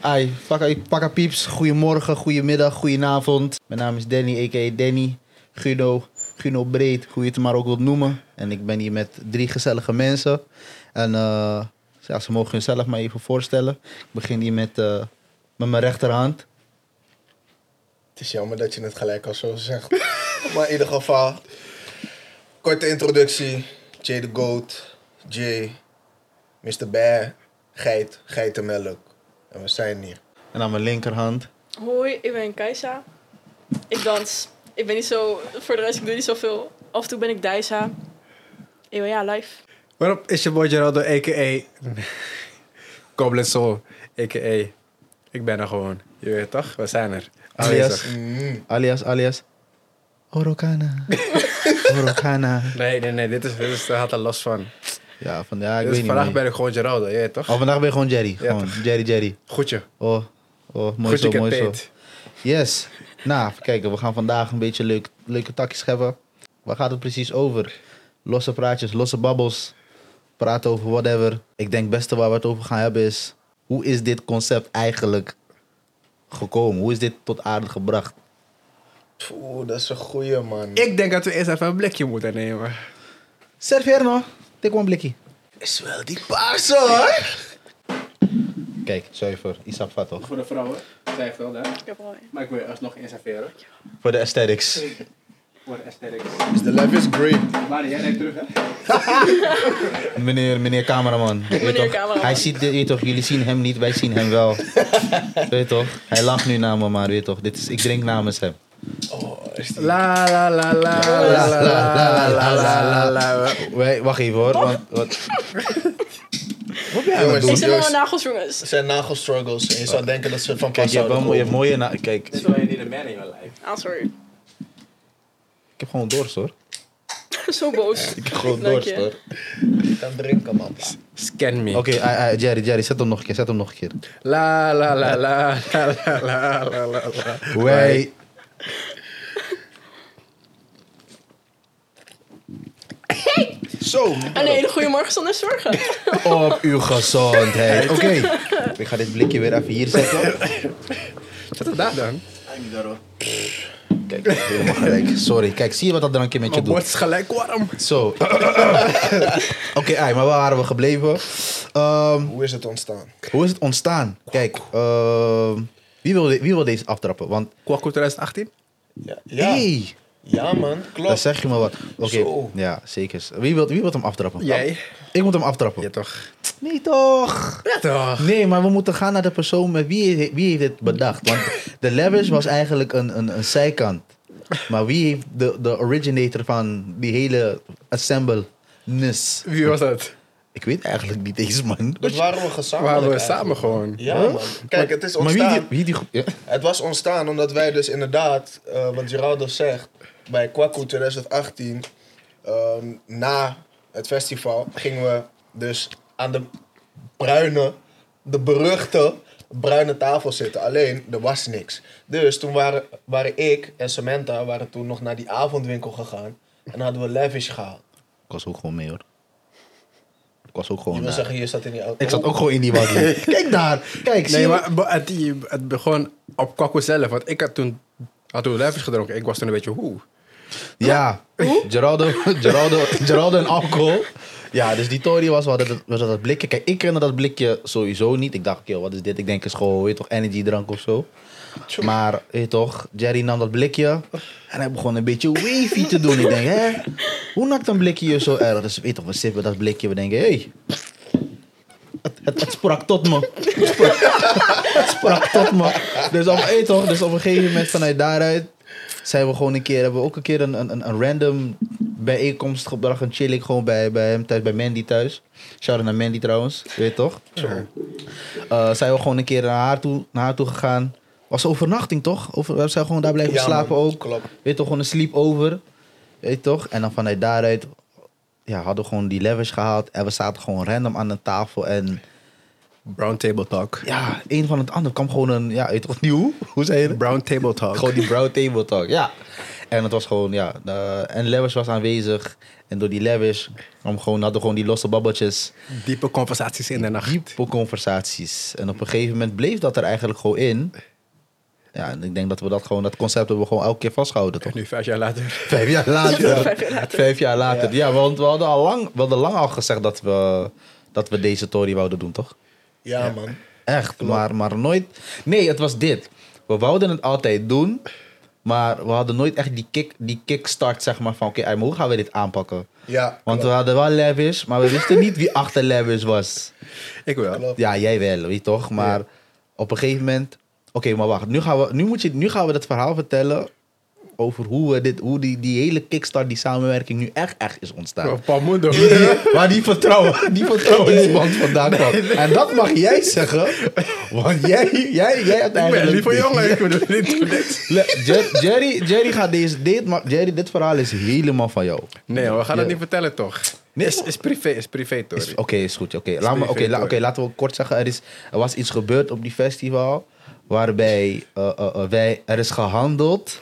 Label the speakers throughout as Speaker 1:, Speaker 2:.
Speaker 1: Ai, pakka- pakka pieps. Goedemorgen, goedemiddag, goedenavond. Mijn naam is Danny, a.k.a. Danny. Guno, Guno Breed, hoe je het maar ook wilt noemen. En ik ben hier met drie gezellige mensen. En eh, ja, ze mogen hunzelf maar even voorstellen. Ik begin hier met, eh, met mijn rechterhand.
Speaker 2: Het is jammer dat je het gelijk al zo zegt. maar in ieder geval, korte introductie. Jay the Goat, Jay, Mr. Bear, Geit, Geitenmelk. En we zijn hier.
Speaker 1: En aan mijn linkerhand.
Speaker 3: Hoi, ik ben Kaisa. Ik dans. Ik ben niet zo... Voor de rest, ik doe niet zoveel. Af en toe ben ik Daisa. Ik ben ja, live.
Speaker 4: Waarop is je boy Geraldo, a.k.a. Goblin Soul, a.k.a. Ik ben er gewoon. Je weet toch? We zijn er. Aanwezig.
Speaker 1: Alias,
Speaker 2: Mm.
Speaker 1: alias, alias. Orokana. Orokana.
Speaker 4: Nee, nee, nee. Dit, is, dit is, gaat er los van.
Speaker 1: Ja, van, ja, ik
Speaker 4: Dus
Speaker 1: weet niet.
Speaker 4: vandaag
Speaker 1: man.
Speaker 4: ben ik gewoon Geraldo, je weet toch?
Speaker 1: Oh, vandaag ben je gewoon Jerry.
Speaker 4: Ja,
Speaker 1: Gewoon Jerry, Jerry.
Speaker 4: Goed je.
Speaker 1: Oh, oh mooi
Speaker 4: Goed je
Speaker 1: zo,
Speaker 4: kent
Speaker 1: mooi zo.
Speaker 4: Peet.
Speaker 1: Yes. Nou, even kijken. We gaan vandaag een beetje leuk, leuke takjes scheppen. Waar gaat het precies over? Losse praatjes, losse babbels. Praten over whatever. Ik denk het beste waar we het over gaan hebben is... Hoe is dit concept eigenlijk gekomen? Hoe is dit tot aarde gebracht?
Speaker 2: Oeh, dat is een goeie man.
Speaker 4: Ik denk dat we eerst even een blikje moeten nemen.
Speaker 1: Serveer nog. Tik een blikje.
Speaker 2: is wel die paarse hoor.
Speaker 1: Kijk, zuiver. Isap vat toch?
Speaker 4: Voor de vrouwen, zij veel daar.
Speaker 3: Ik heb al een.
Speaker 4: Maar ik wil je alsnog inserveren.
Speaker 1: Voor de aesthetics.
Speaker 4: Voor de aesthetics.
Speaker 2: The life is great.
Speaker 4: Maar jij neemt terug, hè?
Speaker 1: Meneer, meneer cameraman. Weet
Speaker 3: Meneer
Speaker 1: toch,
Speaker 3: cameraman.
Speaker 1: Hij ziet dit, weet toch, jullie zien hem niet, wij zien hem wel. weet toch? Hij lacht nu naar me, maar weet toch, dit is, ik drink namens hem.
Speaker 4: La la la la la la la la la la.
Speaker 1: Wij, wacht even hoor, want... Wat, wat ben jij aan het
Speaker 2: Jongens,
Speaker 3: Ik
Speaker 1: doen?
Speaker 3: zit met mijn
Speaker 2: jongens,
Speaker 3: nagels, jongens.
Speaker 2: het zijn nagelstruggles. En je zou denken dat ze van
Speaker 1: Kijk,
Speaker 2: pas
Speaker 1: je hebt, wel,
Speaker 2: zouden
Speaker 1: mo- je hebt
Speaker 2: komen.
Speaker 1: mooie... na- Kijk,
Speaker 4: Dit wil je niet een man in je lijf.
Speaker 3: Ah, sorry.
Speaker 1: ik heb gewoon dorst hoor.
Speaker 3: zo boos.
Speaker 1: Ik heb gewoon
Speaker 3: Dank
Speaker 1: dorst
Speaker 3: je.
Speaker 1: hoor.
Speaker 2: Je kan drinken man.
Speaker 4: Scan me.
Speaker 1: Oké, ai, ai, Jerry, Jerry, zet hem nog een keer, zet hem nog een keer.
Speaker 4: La la la la la la la la la la.
Speaker 1: Wij... Zo,
Speaker 3: En een hele Ah, goede morgen zonder zorgen.
Speaker 1: op uw gezondheid. Oké, ik ga dit blikje weer even hier zetten.
Speaker 4: Zet het daar dan.
Speaker 1: Kijk, helemaal gelijk. Sorry. Kijk, zie je wat dat drankje met je
Speaker 4: Mijn bord
Speaker 1: doet?
Speaker 4: is gelijk warm.
Speaker 1: Zo. Oké, ai, maar waar waren we gebleven? Ehm,
Speaker 2: Hoe is het ontstaan?
Speaker 1: hoe is het ontstaan? Kijk, ehm, wie, wil de- wie wil deze aftrappen? Want,
Speaker 4: Kwaku 2018?
Speaker 2: Ja,
Speaker 1: ja.
Speaker 2: ja. ja man,
Speaker 1: dan
Speaker 2: klopt.
Speaker 1: zeg je me wat. Oké,
Speaker 2: Zo.
Speaker 1: ja, zeker. Wie wil, wie wil hem aftrappen?
Speaker 4: Jij.
Speaker 1: Ik moet hem aftrappen.
Speaker 4: Ja toch.
Speaker 1: Nee, toch?
Speaker 4: Ja toch.
Speaker 1: Nee, maar we moeten gaan naar de persoon met wie, he- wie heeft dit bedacht. Want de Levis was eigenlijk een, een, een zijkant. Maar wie heeft de, de originator van die hele assemble-ness?
Speaker 4: Wie was dat?
Speaker 1: Ik weet eigenlijk niet eens, man.
Speaker 2: Dat waren we gezamenlijk
Speaker 4: Waren we
Speaker 2: eigenlijk.
Speaker 4: samen gewoon.
Speaker 2: Ja, man. Kijk, het is
Speaker 1: Maar
Speaker 2: ontstaan.
Speaker 1: wie die... Wie die gro- ja.
Speaker 2: Het was ontstaan omdat wij dus inderdaad, eh, wat Geraldo zegt, bij Kwaku 2018, eh, na het festival, gingen we dus aan de bruine, de beruchte bruine tafel zitten. Alleen, er was niks. Dus toen waren, waren ik en Samantha waren toen nog naar die avondwinkel gegaan en hadden we Lavish
Speaker 1: Oh,
Speaker 2: gehaald.
Speaker 1: Ik was ook gewoon mee, hoor. Ik was ook
Speaker 2: Je
Speaker 1: gewoon
Speaker 2: wil
Speaker 1: daar.
Speaker 2: zeggen, je zat in die auto.
Speaker 1: Ik zat ook gewoon in die waggie. Kijk daar. Kijk, zie
Speaker 4: Nee,
Speaker 1: je?
Speaker 4: maar bo- het, het begon op Kwaku zelf. Want ik had toen, had toen lijfjes gedronken. Ik was toen een beetje hoe.
Speaker 1: Ja. Geraldo, Geraldo, Geraldo en alcohol. Ja, dus die Tory was, we hadden, dat, we hadden dat blikje. Kijk, ik kende dat blikje sowieso niet. Ik dacht, joh, wat is dit? Ik denk, is gewoon, weet je toch, energiedrank of zo. Maar, weet je toch, Jerry nam dat blikje en hij begon een beetje wavy te doen. Ik denk, hè, hoe nakt een blikje je zo erg? Dus, weet je toch, we zitten met dat blikje, we denken, hé, hey, het, het, het sprak tot me. Het sprak, het sprak tot me. Dus op, hey, toch? dus op een gegeven moment vanuit daaruit zijn we gewoon een keer, hebben we ook een keer een, een, een een random bijeenkomst gebracht. Een chill ik gewoon bij, bij hem thuis, bij Mandy thuis. Shout out naar Mandy trouwens, weet je toch? Eh, zijn we gewoon een keer naar haar toe, naar haar toe gegaan. Was een overnachting toch? Over, we zijn gewoon daar blijven
Speaker 2: Ja,
Speaker 1: slapen
Speaker 2: man,
Speaker 1: ook.
Speaker 2: Klopt.
Speaker 1: Weet je toch, gewoon een sleepover. Weet je toch? En dan vanuit daaruit ja, hadden we gewoon die levers gehaald. En we zaten gewoon random aan een tafel. En
Speaker 4: Brown table talk.
Speaker 1: ja, een van het ander kwam gewoon een, ja, weet je toch, nieuw? Hoe zei je dat?
Speaker 4: Brown table talk.
Speaker 1: Gewoon die brown table talk, ja. En het was gewoon, ja. eh, en Lewis was aanwezig. En door die Lewis kwam gewoon, hadden gewoon die losse babbeltjes.
Speaker 4: Diepe conversaties in de nacht.
Speaker 1: Diepe conversaties. En op een gegeven moment bleef dat er eigenlijk gewoon in. Ja, en ik denk dat we dat gewoon, dat concept hebben we gewoon elke keer vastgehouden, toch?
Speaker 4: En nu, vijf jaar later.
Speaker 1: Vijf jaar later.
Speaker 3: Vijf jaar later.
Speaker 1: Vijf jaar later. Ja, want we hadden al lang, we hadden lang al gezegd dat we, dat we deze tory wouden doen, toch?
Speaker 2: Ja, man.
Speaker 1: Echt, maar, maar nooit. Nee, het was dit. We wouden het altijd doen, maar we hadden nooit echt die, kick, die kickstart, zeg maar, van oké, Ayman, hoe gaan we dit aanpakken?
Speaker 2: Ja,
Speaker 1: Want we
Speaker 2: klopt,
Speaker 1: hadden wel Levis, maar we wisten niet wie achter Levis was.
Speaker 4: Ik wel.
Speaker 2: klopt.
Speaker 1: Ja, jij wel, weet je toch? Maar op een gegeven moment. Oké, maar wacht. Nu gaan, we, nu, moet je, nu gaan we dat verhaal vertellen. Over hoe, we dit, hoe die, die hele kickstart, die samenwerking nu echt, echt is ontstaan.
Speaker 4: Palmundo.
Speaker 1: Die- waar die vertrouwen, die vertrouwensband vandaan kwam. En dat mag jij zeggen, want jij, jij, jij hebt
Speaker 4: Ik ben
Speaker 1: eigenlijk...
Speaker 4: liever jongen. Ik bedoel niet dit.
Speaker 1: Le- Jer- Jerry, Jerry gaat deze, dit, maar Jerry, dit verhaal is helemaal van jou.
Speaker 4: Nee, we gaan
Speaker 1: Ja.
Speaker 4: dat niet vertellen toch? Nee, is, is privé, is privé
Speaker 1: Is-
Speaker 4: Tori.
Speaker 1: Oké, is goed. Oké, laat me-
Speaker 4: privé,
Speaker 1: oké, la-
Speaker 4: hoor.
Speaker 1: oké, laten we kort zeggen. Er, is, er was iets gebeurd op die festival. Waarbij eh, eh, eh, wij, er is gehandeld.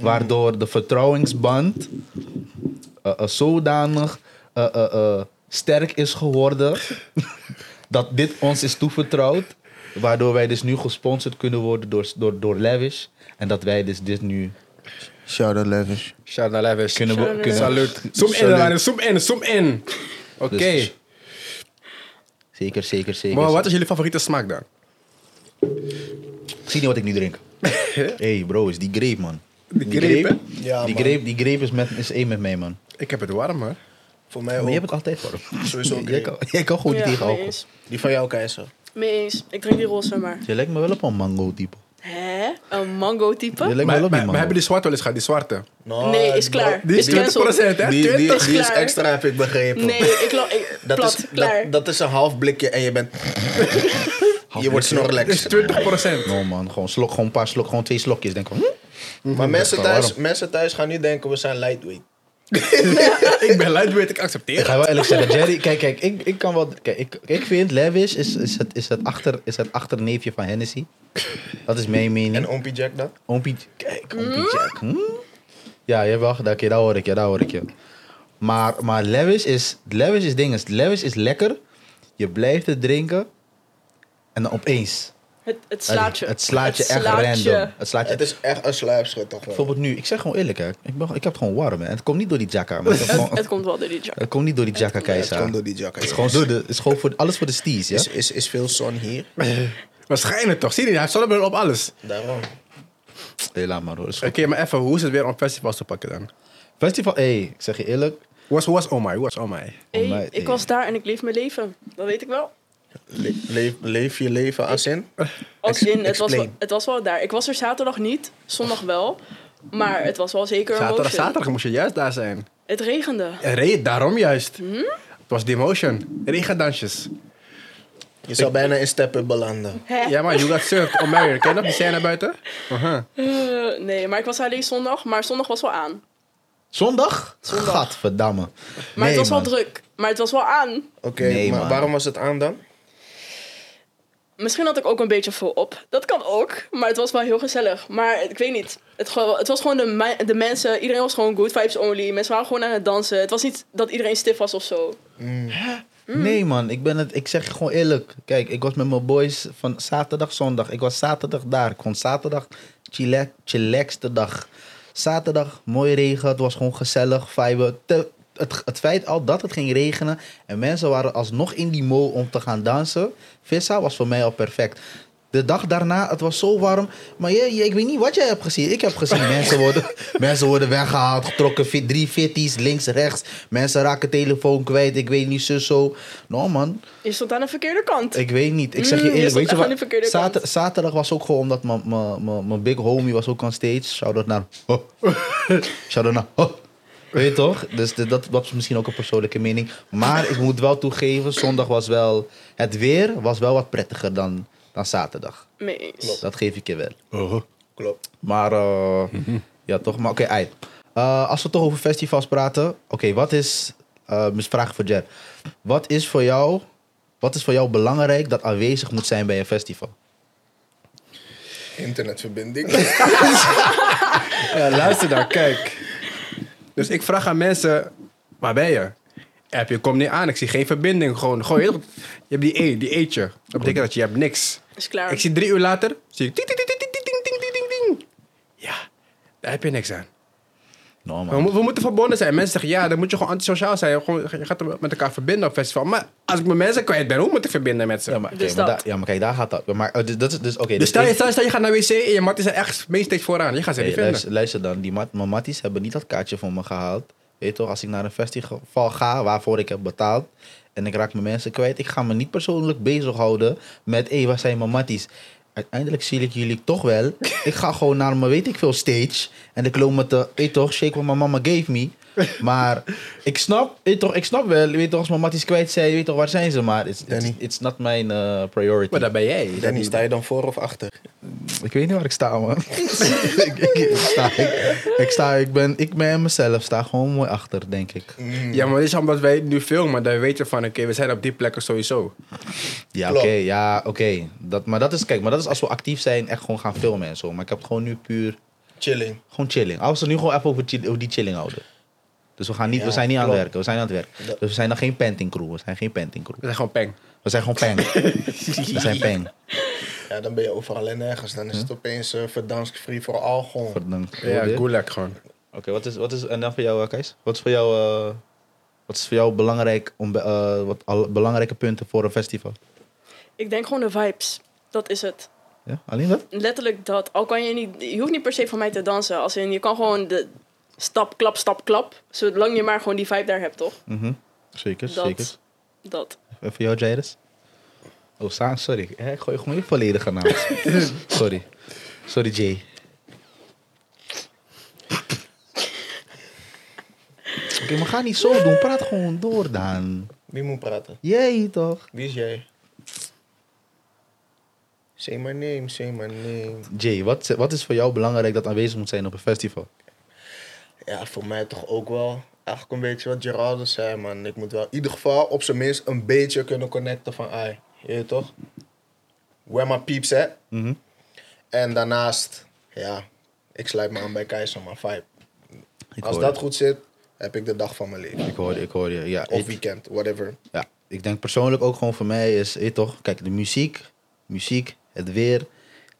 Speaker 1: Waardoor de vertrouwensband eh, eh, zodanig eh, eh, eh, sterk is geworden. dat dit ons is toevertrouwd. Waardoor wij dus nu gesponsord kunnen worden door, door, door Lavish. En dat wij dus dit nu
Speaker 5: Shout out Levis.
Speaker 4: Shout naar Levis.
Speaker 1: kunnen...
Speaker 3: Zo,
Speaker 1: we- kunnen
Speaker 4: Salut. Zoom in,
Speaker 1: Salut.
Speaker 4: Ryan. Zoom in, zoom in. Oké.
Speaker 1: Dus- Zeker, zeker, zeker.
Speaker 4: Maar wat is jullie favoriete smaak dan?
Speaker 1: Zie je wat ik nu drink? hey bro, is die grape, man.
Speaker 4: De
Speaker 1: Die
Speaker 4: grape,
Speaker 1: grape,
Speaker 2: Ja,
Speaker 1: die
Speaker 2: man.
Speaker 1: grape, die grape is, met, is één met mij, man.
Speaker 4: Ik heb het warm hoor.
Speaker 2: Voor mij
Speaker 1: Maar
Speaker 2: ook.
Speaker 1: je hebt het altijd warm.
Speaker 2: Oh. Sowieso
Speaker 1: Jij
Speaker 2: grape.
Speaker 1: kan, jij kan gewoon niet
Speaker 3: Ja,
Speaker 1: tegen
Speaker 3: mee
Speaker 1: alcohol.
Speaker 3: eens.
Speaker 2: Die van jou, Keizer.
Speaker 3: Mee eens. Ik drink die roze maar.
Speaker 1: Je lijkt me wel op een mango-type.
Speaker 3: Hè? Een mango-type?
Speaker 1: Je lijkt me
Speaker 4: Maar,
Speaker 1: wel op die
Speaker 4: maar, maar
Speaker 1: mango.
Speaker 4: hebben die zwarte wel eens gehad? Die zwarte?
Speaker 2: No,
Speaker 3: nee,
Speaker 1: Ah,
Speaker 3: is
Speaker 2: bro.
Speaker 3: klaar.
Speaker 4: Die
Speaker 3: is
Speaker 4: is 20
Speaker 3: cancelled.
Speaker 4: hè?
Speaker 2: Die, die,
Speaker 4: 20?
Speaker 3: is
Speaker 2: die is
Speaker 3: klaar.
Speaker 2: extra, heb ik begrepen.
Speaker 3: Nee, ik, lo- ik
Speaker 2: Dat,
Speaker 3: plat,
Speaker 2: is,
Speaker 3: klaar.
Speaker 2: dat, dat is een half blikje en je bent... je wordt
Speaker 4: Dat is
Speaker 2: snorlex.
Speaker 4: 20
Speaker 1: No man, gewoon, slok, gewoon een paar slok, gewoon twee slokjes. Denk ik van, hm?
Speaker 2: Maar mensen
Speaker 1: wel
Speaker 2: thuis,
Speaker 1: warm.
Speaker 2: mensen thuis gaan nu denken, we zijn lightweight.
Speaker 4: ik ben lightweight, ik
Speaker 1: Ik
Speaker 4: accepteer.
Speaker 1: ga wel eerlijk zeggen, Jerry, kijk, kijk, ik, ik kan wel... Kijk, ik, ik vind Levis is, is, het, is, het achter, is het achterneefje van Hennessy. Dat is mijn mening.
Speaker 2: En Ompie Jack dan?
Speaker 1: Oompie, kijk, oompie
Speaker 3: Hmm?
Speaker 1: Jack. hm? Ja, je hebt wel gedaan. Oké, daar hoor ik je, daar hoor ik je. Maar, maar Lewis is, Lewis is ding. is- Lewis is lekker. Je blijft het drinken. En dan opeens.
Speaker 3: Het, het slaat je.
Speaker 1: Het slaat je
Speaker 3: Het
Speaker 1: echt
Speaker 3: slaat je.
Speaker 1: random. Het slaat je.
Speaker 2: Het is echt een sluipschut toch wel.
Speaker 1: Bijvoorbeeld nu, ik zeg gewoon eerlijk, hè. Ik, ben, ik heb het gewoon warm. Hè. Het komt niet door die jacka. Maar het, komt gewoon-
Speaker 3: Het komt wel door die jar.
Speaker 1: het komt niet door die jacka,
Speaker 2: Het
Speaker 1: Keizer.
Speaker 2: komt door
Speaker 1: Het
Speaker 2: die Jack.
Speaker 1: is gewoon, door de, het is gewoon voor, alles voor de stees, ja?
Speaker 2: Is, is, is veel zon hier?
Speaker 4: Waarschijnlijk toch? Zie je, hij stond op alles.
Speaker 2: Daarom.
Speaker 1: Nee, laat maar hoor. is
Speaker 4: Oké,
Speaker 1: goed.
Speaker 4: maar even, hoe is het weer om festivals te pakken dan?
Speaker 1: Festival, hé, ik zeg je eerlijk.
Speaker 4: Hoe was, hoe was Omai? Hoe was Omai?
Speaker 3: Hey,
Speaker 1: mij-
Speaker 3: ik was daar en ik leef mijn leven. Dat weet ik wel.
Speaker 2: Le- leef, leef je leven als in?
Speaker 3: Als in, het was, wel,
Speaker 2: explain.
Speaker 3: het was wel daar. Ik was er zaterdag niet, zondag wel. Maar het was wel zeker een
Speaker 4: Zaterdag,
Speaker 3: motion.
Speaker 4: zaterdag moest je juist daar zijn.
Speaker 3: Het regende.
Speaker 4: En reed, daarom juist. Het was demotion. Regendansjes.
Speaker 2: Je zou bijna in steppen belanden.
Speaker 3: Hè?
Speaker 4: Ja, maar you got served on Marion. Ken je nog die scène buiten?
Speaker 3: Eh, nee, maar ik was alleen zondag. Maar zondag was wel aan.
Speaker 1: Zondag? Gadverdamme.
Speaker 3: Maar het was wel druk. Maar het was wel aan.
Speaker 2: Oké,
Speaker 1: Nee,
Speaker 2: maar
Speaker 1: man.
Speaker 2: waarom was het aan dan?
Speaker 3: Misschien had ik ook een beetje veel op. Dat kan ook. Maar het was wel heel gezellig. Maar ik weet niet. Het, gewoon- het was gewoon de, me- de mensen. Iedereen was gewoon good vibes only. Mensen waren gewoon aan het dansen. Het was niet dat iedereen stif was of zo.
Speaker 1: Nee man, ik, ben het, ik zeg je gewoon eerlijk. Kijk, ik was met mijn boys van zaterdag, zondag. Ik was zaterdag daar. Ik vond zaterdag chile- chillaxte dag. Zaterdag, mooi regen. Het was gewoon gezellig, vibe. Te- het, het feit al dat het ging regenen en mensen waren alsnog in die mo om te gaan dansen. Vissa was voor mij al perfect. De dag daarna, het was zo warm. Maar je, je- ik weet niet wat jij hebt gezien. Ik heb gezien, mensen worden, mensen worden weggehaald, getrokken. fi- Drie fitties, links, rechts. Mensen raken telefoon kwijt. Ik weet niet, zo, zo. Nou man,
Speaker 3: Je stond aan de verkeerde kant.
Speaker 1: ik weet niet. Ik zeg je
Speaker 3: Mm, je
Speaker 1: eerlijk,
Speaker 3: stond
Speaker 1: weet je
Speaker 3: echt aan de
Speaker 1: wat?
Speaker 3: verkeerde
Speaker 1: Zater-
Speaker 3: kant.
Speaker 1: zaterdag was ook gewoon omdat mijn- mijn- mijn mijn big homie was ook on stage. Shout-out naar... Shout-out naar... Weet je toch? Dus de- dat, dat is misschien ook een persoonlijke mening. Maar ik moet wel toegeven, zondag was wel... Het weer was wel wat prettiger dan, dan zaterdag.
Speaker 3: Mee eens.
Speaker 1: Dat geef ik je wel.
Speaker 2: Klopt.
Speaker 1: Maar eh, ja, toch. Maar oké, ei. Eh, als we toch over festivals praten. Oké, wat is. eh, dus vraag voor Jer. Wat is voor jou. Wat is voor jou belangrijk dat aanwezig moet zijn bij een festival?
Speaker 2: Internetverbinding.
Speaker 4: Ja, luister dan, kijk. Dus ik vraag aan mensen, waar ben je? App, je komt niet aan, ik zie geen verbinding. Gewoon, gewoon heel, je hebt die E, die eetje. Dat betekent dat je hebt niks.
Speaker 3: Is klaar.
Speaker 4: Ik zie drie uur later, zie ik ting, ting, ting, ting, ting, ting, ting, ting, ting, ting. Ja, daar heb je niks aan.
Speaker 1: No,
Speaker 4: We,
Speaker 1: Nou, man.
Speaker 4: mo- we moeten verbonden zijn. Mensen zeggen, ja, dan moet je gewoon antisociaal zijn. Gewoon, je gaat met elkaar verbinden op festival. Maar als ik mijn mensen kwijt ben, hoe moet ik verbinden met ze?
Speaker 1: Ja, maar, oké,
Speaker 3: Dus
Speaker 1: maar
Speaker 3: dat.
Speaker 1: daar- ja, maar kijk, daar gaat dat. Maar, eh, dus dat is, dus, oké,
Speaker 4: dus
Speaker 1: dus
Speaker 4: stel,
Speaker 1: ik-
Speaker 4: je- stel, stel je gaat naar wc en je mat is er echt steeds vooraan. Je gaat ze
Speaker 1: Hey,
Speaker 4: niet vinden.
Speaker 1: luister, luister dan, die mat, mijn matties hebben niet dat kaartje voor me gehaald. Weet je toch, als ik naar een festival ga waarvoor ik heb betaald en ik raak mijn mensen kwijt, ik ga me niet persoonlijk bezighouden met, hé, waar zijn mijn matties? Uiteindelijk zie ik jullie toch wel. ik ga gewoon naar mijn weet ik veel stage en ik loop met de, weet je toch, shake what my mama gave me. Maar ik snap, weet je toch, ik snap wel, weet je toch, als mijn matties kwijt zijn, weet je toch, waar zijn ze? Maar it's, it's,
Speaker 2: Danny.
Speaker 1: it's not mijn eh, priority.
Speaker 4: Maar daar ben jij.
Speaker 2: Danny, sta je dan voor of achter?
Speaker 1: Ik weet niet waar ik sta, man. ik, ik, ik sta, ik, ik sta, ik ben, ik ben mezelf, sta gewoon mooi achter, denk ik.
Speaker 4: Ja, maar dit is omdat wij nu filmen. Dan weet je van, oké, we zijn op die plekken sowieso.
Speaker 1: Ja, oké,
Speaker 2: Klopt.
Speaker 1: ja, oké. Dat, maar dat is, kijk, maar dat is als we actief zijn, echt gewoon gaan filmen en zo. Maar ik heb het gewoon nu puur,
Speaker 2: Chilling.
Speaker 1: gewoon chilling. Als we nu gewoon even over, chill- over die chilling houden. Dus we, gaan niet, we
Speaker 2: Ja,
Speaker 1: zijn niet aan het
Speaker 2: klopt.
Speaker 1: werken, we zijn aan het werken. Dus we zijn dan geen panting crew, we zijn geen panting crew.
Speaker 4: We zijn gewoon peng.
Speaker 1: We zijn gewoon peng. we zijn peng.
Speaker 2: Ja, dan ben je overal en nergens. Dan
Speaker 1: Hm?
Speaker 2: is het opeens eh verdansk free for all gewoon.
Speaker 1: Verdankt.
Speaker 4: Ja,
Speaker 1: Oké,
Speaker 4: gulag gewoon.
Speaker 1: wat, is, wat is, en dan voor jou, eh, Kees? Wat is voor jou, eh, wat is voor jou belangrijk, om, be- eh, wat alle belangrijke punten voor een festival?
Speaker 3: Ik denk gewoon de vibes. Dat is het.
Speaker 1: Ja, alleen dat?
Speaker 3: Letterlijk dat. Al kan je niet... Je hoeft niet per se van mij te dansen. Als in, je kan gewoon de stap, klap, stap, klap. Zolang je maar gewoon die vibe daar hebt, toch?
Speaker 1: Mhm. Zeker,
Speaker 3: Dat.
Speaker 1: zeker.
Speaker 3: Dat.
Speaker 1: En voor jou, Jairus? Oh, Saan, sorry. Eh, Ik gooi gewoon je volledige naam. sorry. Sorry, Jay. Oké, maar ga niet zo doen. Praat gewoon door dan.
Speaker 2: Wie moet praten?
Speaker 1: Jij toch?
Speaker 2: Wie is jij? Say my name, say my name.
Speaker 1: Jay, wat, wat is voor jou belangrijk dat aanwezig moet zijn op een festival?
Speaker 2: Ja, voor mij toch ook wel. Eigenlijk een beetje wat Gerardo zei, man. Ik moet wel in ieder geval op zijn minst een beetje kunnen connecten van... Ai, je weet toch? Where my peeps at.
Speaker 1: Mhm.
Speaker 2: En daarnaast, ja, ik sluit me aan bij Keizer, maar vibe.
Speaker 1: Ik
Speaker 2: Als
Speaker 1: hoor
Speaker 2: dat
Speaker 1: je.
Speaker 2: goed zit, heb ik de dag van mijn leven.
Speaker 1: Ik hoor je, ik hoor je. Ja,
Speaker 2: Of
Speaker 1: ik-
Speaker 2: weekend, whatever.
Speaker 1: Ja, ik denk persoonlijk ook gewoon voor mij is, weet je toch, kijk, de muziek, muziek, het weer.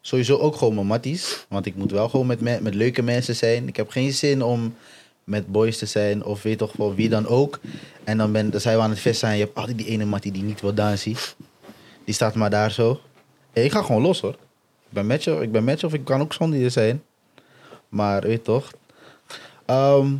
Speaker 1: Sowieso ook gewoon mijn matties. Want ik moet wel gewoon met, me- met leuke mensen zijn. Ik heb geen zin om met boys te zijn of weet toch voor wie dan ook. En dan, ben, dan zijn we aan het vissen en je hebt altijd die ene mattie die niet wil dansen. Die staat maar daar zo. Hé, ik ga gewoon los hoor. Ik ben met je, ik ben met je of ik kan ook zonder je zijn. Maar weet je toch. Ehm,